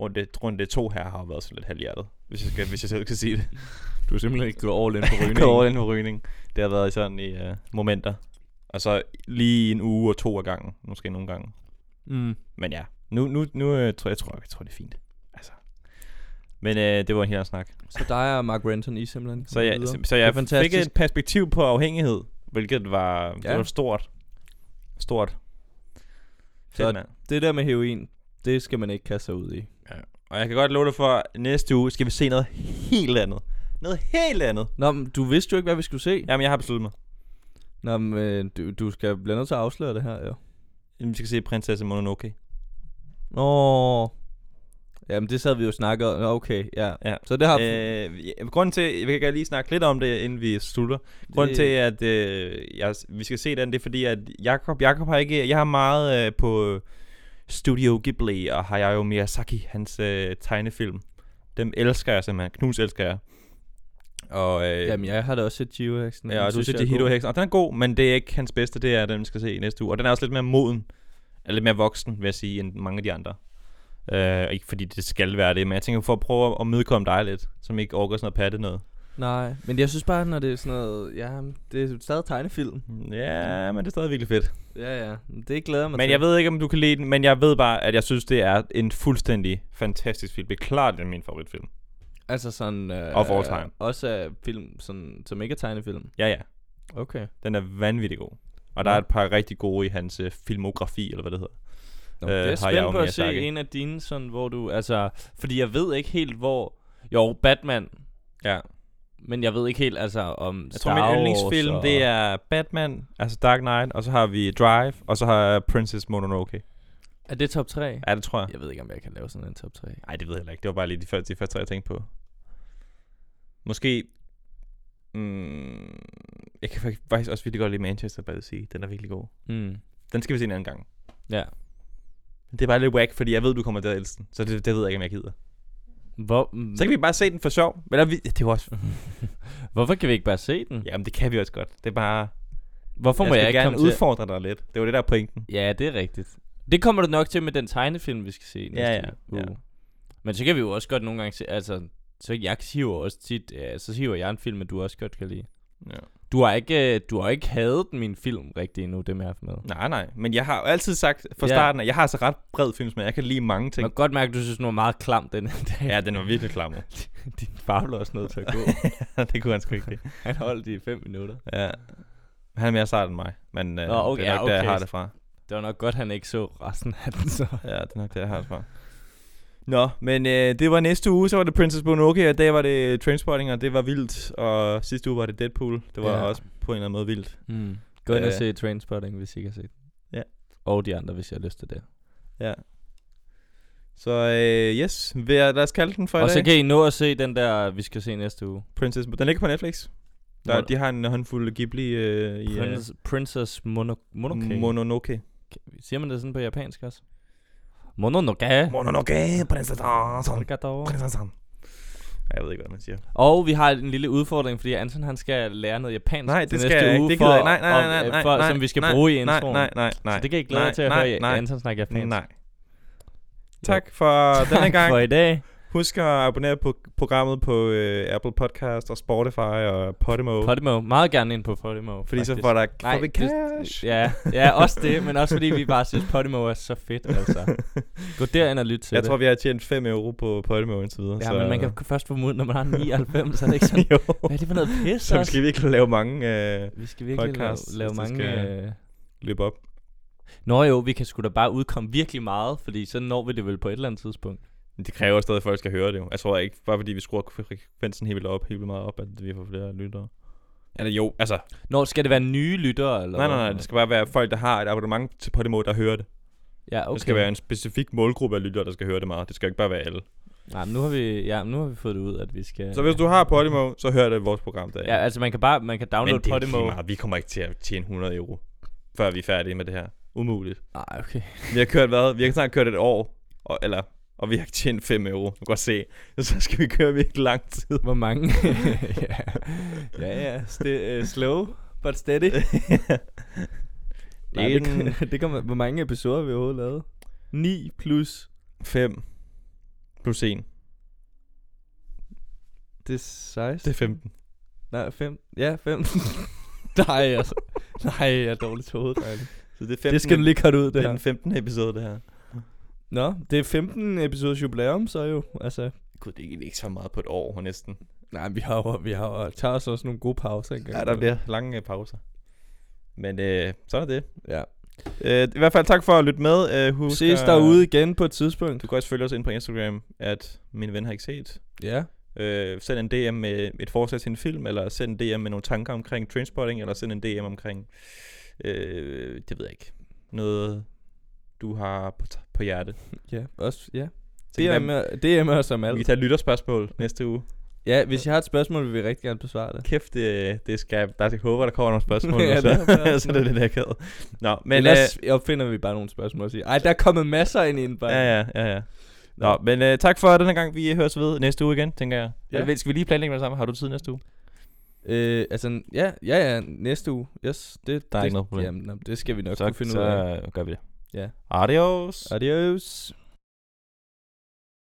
S1: Runde, runde to her har jo været sådan lidt halvhjertet, hvis jeg, skal, hvis jeg selv kan sige det.
S2: Du har simpelthen ikke gået all in på
S1: Gået over den på rygning. Det har været sådan i øh, momenter. Og så lige en uge og to af gangen, måske nogle gange.
S2: mm.
S1: Men ja, nu, nu, nu øh, tror jeg, tror, jeg tror, det er fint. Altså. Men øh, det var en helt anden snak.
S2: Så dig og Mark Renton, I er simpelthen
S1: Så jeg,
S2: videre.
S1: så, så
S2: Det er
S1: jeg fik
S2: fantastisk.
S1: et perspektiv på afhængighed, hvilket var, ja.
S2: Ja.
S1: det var stort. Stort.
S2: Så-
S1: Fedt, mand.
S2: Det der med heroin, det skal man ikke kaste sig ud i.
S1: Og jeg kan godt love dig for, at næste uge skal vi se noget helt andet. Noget helt andet.
S2: Nå, men du vidste jo ikke, hvad vi skulle se.
S1: Jamen, jeg har besluttet mig.
S2: Nå, men øh, du, du skal blive nødt til at afsløre det her, jo.
S1: Vi skal se Prinsesse Mononoke.
S2: Nå. Jamen, det sad vi jo snakket om. Nå, Okay, ja.
S1: Ja.
S2: Så det har...
S1: Øh, ja, grunden til, vi kan lige snakke lidt om det, inden vi slutter. Grunden
S2: Det-
S1: til, at øh, jeg, vi skal se den, det er fordi, at Jakob, Jakob har ikke... Jeg har meget øh, på Studio Ghibli og Hayao Miyazaki, hans øh, tegnefilm. Dem elsker jeg simpelthen. Knus elsker jeg. Og, øh,
S2: Jamen, jeg har da også set Geo Hexen.
S1: ja, og du synes, det er Hito Hexen. Og den er god, men det er ikke hans bedste. Det er den, vi skal se i næste uge. Og den er også lidt mere moden. Eller lidt mere voksen, vil jeg sige, end mange af de andre. Uh, ikke fordi det skal være det, men jeg tænker for at prøve at mødekomme dig lidt, som ikke orker sådan noget patte noget.
S2: Nej, men jeg synes bare, når det er sådan noget... Ja, det er stadig tegnefilm.
S1: Ja, men det er stadig virkelig fedt.
S2: Ja, ja. Det glæder jeg mig
S1: Men
S2: til.
S1: jeg ved ikke, om du kan lide den, men jeg ved bare, at jeg synes, det er en fuldstændig fantastisk film. Det er klart, det er min favoritfilm.
S2: Altså sådan... Øh,
S1: Of all time.
S2: Også af film, sådan, som ikke er tegnefilm.
S1: Ja, ja.
S2: Okay.
S1: Den er vanvittig god. Og der
S2: Nå.
S1: er et par rigtig gode i hans øh, filmografi, eller hvad det hedder.
S2: Nå,
S1: Øh,
S2: øh, jeg er
S1: har jeg jo
S2: spændt på at se
S1: Miyazaki.
S2: en af dine, sådan, hvor du... Altså, fordi jeg ved ikke helt, hvor... Jo, Batman.
S1: Ja.
S2: Men jeg ved ikke helt, altså, om
S1: Jeg tror, min yndlingsfilm, det er Batman, altså Dark Knight, og så har vi Drive, og så har jeg Princess Mononoke.
S2: Er det top 3?
S1: Ja, det tror jeg.
S2: Jeg ved ikke, om jeg kan lave sådan en top 3.
S1: Nej, det ved jeg heller ikke. Det var bare lige de første, de første tre, jeg tænkte på. Måske... Mm, jeg kan fak- faktisk også virkelig godt lide Manchester by the Sea. Den er virkelig god.
S2: Mm.
S1: Den skal vi se en anden gang.
S2: Ja.
S1: Det er bare lidt whack, fordi jeg ved, du kommer til at elske den. Så det, det ved jeg ikke, om jeg gider.
S2: Hvor,
S1: Så kan vi bare se den for sjov. Eller vi, det er jo også...
S2: Hvorfor kan vi ikke bare se den?
S1: Jamen, det kan vi også godt. Det er bare...
S2: Hvorfor må
S1: jeg
S2: jeg,
S1: skal
S2: ikke
S1: gerne
S2: komme til?
S1: udfordre dig lidt. Det var det, der er pointen.
S2: Ja, det er rigtigt. Det kommer du nok til med den tegnefilm, vi skal se næste
S1: Ja, ja,
S2: uge.
S1: ja.
S2: Men så kan vi jo også godt nogle gange se, altså, så jeg hiver også tit, ja, så hiver jeg en film, at du også godt kan lide.
S1: Ja.
S2: Du har ikke, øh, du har ikke hadet min film rigtig endnu, det med jeg med.
S1: Nej, nej. Men jeg har jo altid sagt fra
S2: Ja.
S1: starten, at jeg har altså ret bred filmsmag. Jeg kan lide mange
S2: Man
S1: ting.
S2: kan godt mærke, at du synes, den var meget klam den her dag.
S1: Ja, den var virkelig klammer.
S2: Din far blev også nødt til at gå.
S1: det kunne han sgu ikke lide.
S2: Han holdt i fem minutter.
S1: Ja. Han er mere sart end mig. Men øh,
S2: Nå, okay,
S1: det er nok
S2: ja,
S1: der, jeg
S2: okay.
S1: har det fra.
S2: Det var nok godt, han ikke så resten af den så.
S1: Ja, det er nok der, jeg har det fra. Nå, men øh, det var næste uge, så var det Princess Mononoke, og i dag var det øh, Trainspotting, og det var vildt. Og sidste uge var det Deadpool. Det var
S2: Ja.
S1: ja. også på en eller anden måde vildt.
S2: Mm. Gå ind og
S1: Øh.
S2: se Trainspotting, hvis I ikke har set den.
S1: Ja.
S2: Og de andre, hvis jeg har lyst til det.
S1: Ja. Så øh, yes, vil jeg, lad os kalde den for i
S2: Og
S1: dag.
S2: så kan I nå at se den der, vi skal se næste uge.
S1: Princess, den ligger på Netflix. Der,
S2: Mon-
S1: de har en håndfuld Ghibli øh, i øh,
S2: Princess, Princess Mono, Monoke.
S1: Mononoke.
S2: Siger man det sådan på japansk også? Mononoke.
S1: Mononoke, prinsessan.
S2: Mononoke.
S1: Prinsessan. Ej, Jeg ved ikke, hvad man siger.
S2: Og vi har en lille udfordring, fordi Anton han skal lære noget japansk
S1: Nej,
S2: til
S1: det
S2: næste
S1: skal jeg
S2: uge,
S1: ikke. Det
S2: for,
S1: gider jeg. Nej, nej,
S2: om- øh,
S1: nej, nej,
S2: for,
S1: nej,
S2: som vi skal
S1: nej,
S2: bruge i
S1: Nej,
S2: introen.
S1: nej, nej, nej.
S2: Så det kan I glæde jer
S1: nej,
S2: til at
S1: nej,
S2: høre
S1: nej,
S2: Anton snakke japansk.
S1: Nej. Tak for denne
S2: Tak
S1: gang.
S2: for i dag.
S1: Husk at abonnere på programmet på øh, Apple Podcast og Spotify og Podimo.
S2: Podimo. Meget gerne ind på Podimo.
S1: Fordi så
S2: faktisk.
S1: får der
S2: Nej,
S1: får vi
S2: det-
S1: cash.
S2: Ja, ja, også det, men også fordi vi bare synes, Podimo er så fedt, altså. Gå derind og lyt til
S1: Jeg
S2: det.
S1: tror, vi har tjent 5 euro på Podimo indtil videre.
S2: ja,
S1: så,
S2: men man kan først få mod, når man har 99, så er det ikke sådan,
S1: jo.
S2: hvad er det for noget pis,
S1: Så
S2: også?
S1: skal vi ikke lave mange øh,
S2: Vi skal virkelig lave,
S1: podcasts,
S2: lave
S1: hvis det
S2: mange...
S1: skal-
S2: øh,
S1: løb op.
S2: Nå jo, vi kan sgu da bare udkomme virkelig meget, fordi så når vi det vel på et eller andet tidspunkt.
S1: Men det kræver stadig, at folk skal høre det jo. Jeg tror ikke, bare fordi vi skruer frekvensen helt vildt op, helt vildt meget op, at vi får flere lyttere. Eller jo, altså.
S2: Når skal det være nye lyttere? Eller
S1: Nej, nej,
S2: hvad?
S1: nej. Det skal bare være folk, der har et abonnement til Podimo, der hører det. Okay.
S2: Ja, okay.
S1: Det skal være en specifik målgruppe af lyttere, der skal høre det meget. Det skal ikke bare være alle.
S2: Nej, men nu har vi, ja, nu har vi fået det ud, at vi skal...
S1: Så hvis du har Podimo, så hør det vores program der.
S2: Ja, altså man kan bare man kan
S1: Men
S2: downloade
S1: det er lige
S2: Podimo.
S1: meget. Vi kommer ikke til at tjene 100 euro, før vi er færdige med det her. Umuligt.
S2: Nej, okay.
S1: Vi har kørt hvad? Vi har snart kørt et år, og, eller, og vi har ikke tjent 5 euro. Du kan godt se. Så skal vi køre virkelig lang tid.
S2: Hvor mange? ja. ja, ja. St- uh, slow, but steady. Nej, det,
S1: En-
S2: kom- det kommer, hvor mange episoder har vi overhovedet lavet? 9 plus.
S1: 5 plus 1.
S2: Det er 16.
S1: Det er 15.
S2: Nej, 5. Ja, 5. Nej, altså. Nej, jeg er dårlig til hovedet.
S1: Så det er 15.
S2: Det skal du lige cut ud,
S1: Det
S2: det, det
S1: er
S2: her.
S1: den 15. episode, det her.
S2: Nå, det er 15 episodes jubilæum, så jo. Altså,
S1: Gud, det er egentlig ikke så meget på et år næsten.
S2: nej, vi har jo, vi har jo, tager os også nogle gode pauser engang.
S1: Ja, der bliver lange øh, pauser. Men øh, sådan er det.
S2: Ja.
S1: Øh, I hvert fald tak for at lytte med. Øh, husk
S2: Ses
S1: at-
S2: derude igen på et tidspunkt.
S1: Du kan også følge os ind på Instagram, at min ven har ikke set.
S2: Ja.
S1: Øh, send en DM med et forslag til en film, eller send en DM med nogle tanker omkring Trainspotting, eller send en DM omkring, øh, det ved jeg ikke, noget du har på, t- på hjerte.
S2: Ja, også, ja.
S1: Så kan
S2: DM
S1: være-
S2: er, DM er som
S1: Vi kan
S2: alt.
S1: tage lytterspørgsmål næste uge.
S2: Ja, hvis jeg har et spørgsmål, vil vi rigtig gerne besvare det.
S1: Kæft, det, det skal, der jeg håber, der kommer nogle spørgsmål.
S2: Ja,
S1: ja,
S2: det
S1: så,
S2: håber jeg også.
S1: så det er lidt akavet. Nå,
S2: Men
S1: men...
S2: Ellers øh, opfinder vi bare nogle spørgsmål og siger, ej, der er kommet masser ind i en
S1: øh,
S2: bare.
S1: ja, ja, ja, ja. Nå, men øh, tak for denne gang. Vi høres ved næste uge igen, tænker jeg.
S2: Ja.
S1: Ja. Skal vi lige planlægge med det samme? Har du tid næste uge?
S2: Øh, altså, ja, ja, ja, næste uge. Yes, det,
S1: Der er
S2: det,
S1: ikke noget problem.
S2: Jamen, nå, det skal vi nok
S1: så,
S2: kunne finde
S1: så
S2: ud af.
S1: gør vi det.
S2: Ja.
S1: Adios.
S2: Adios.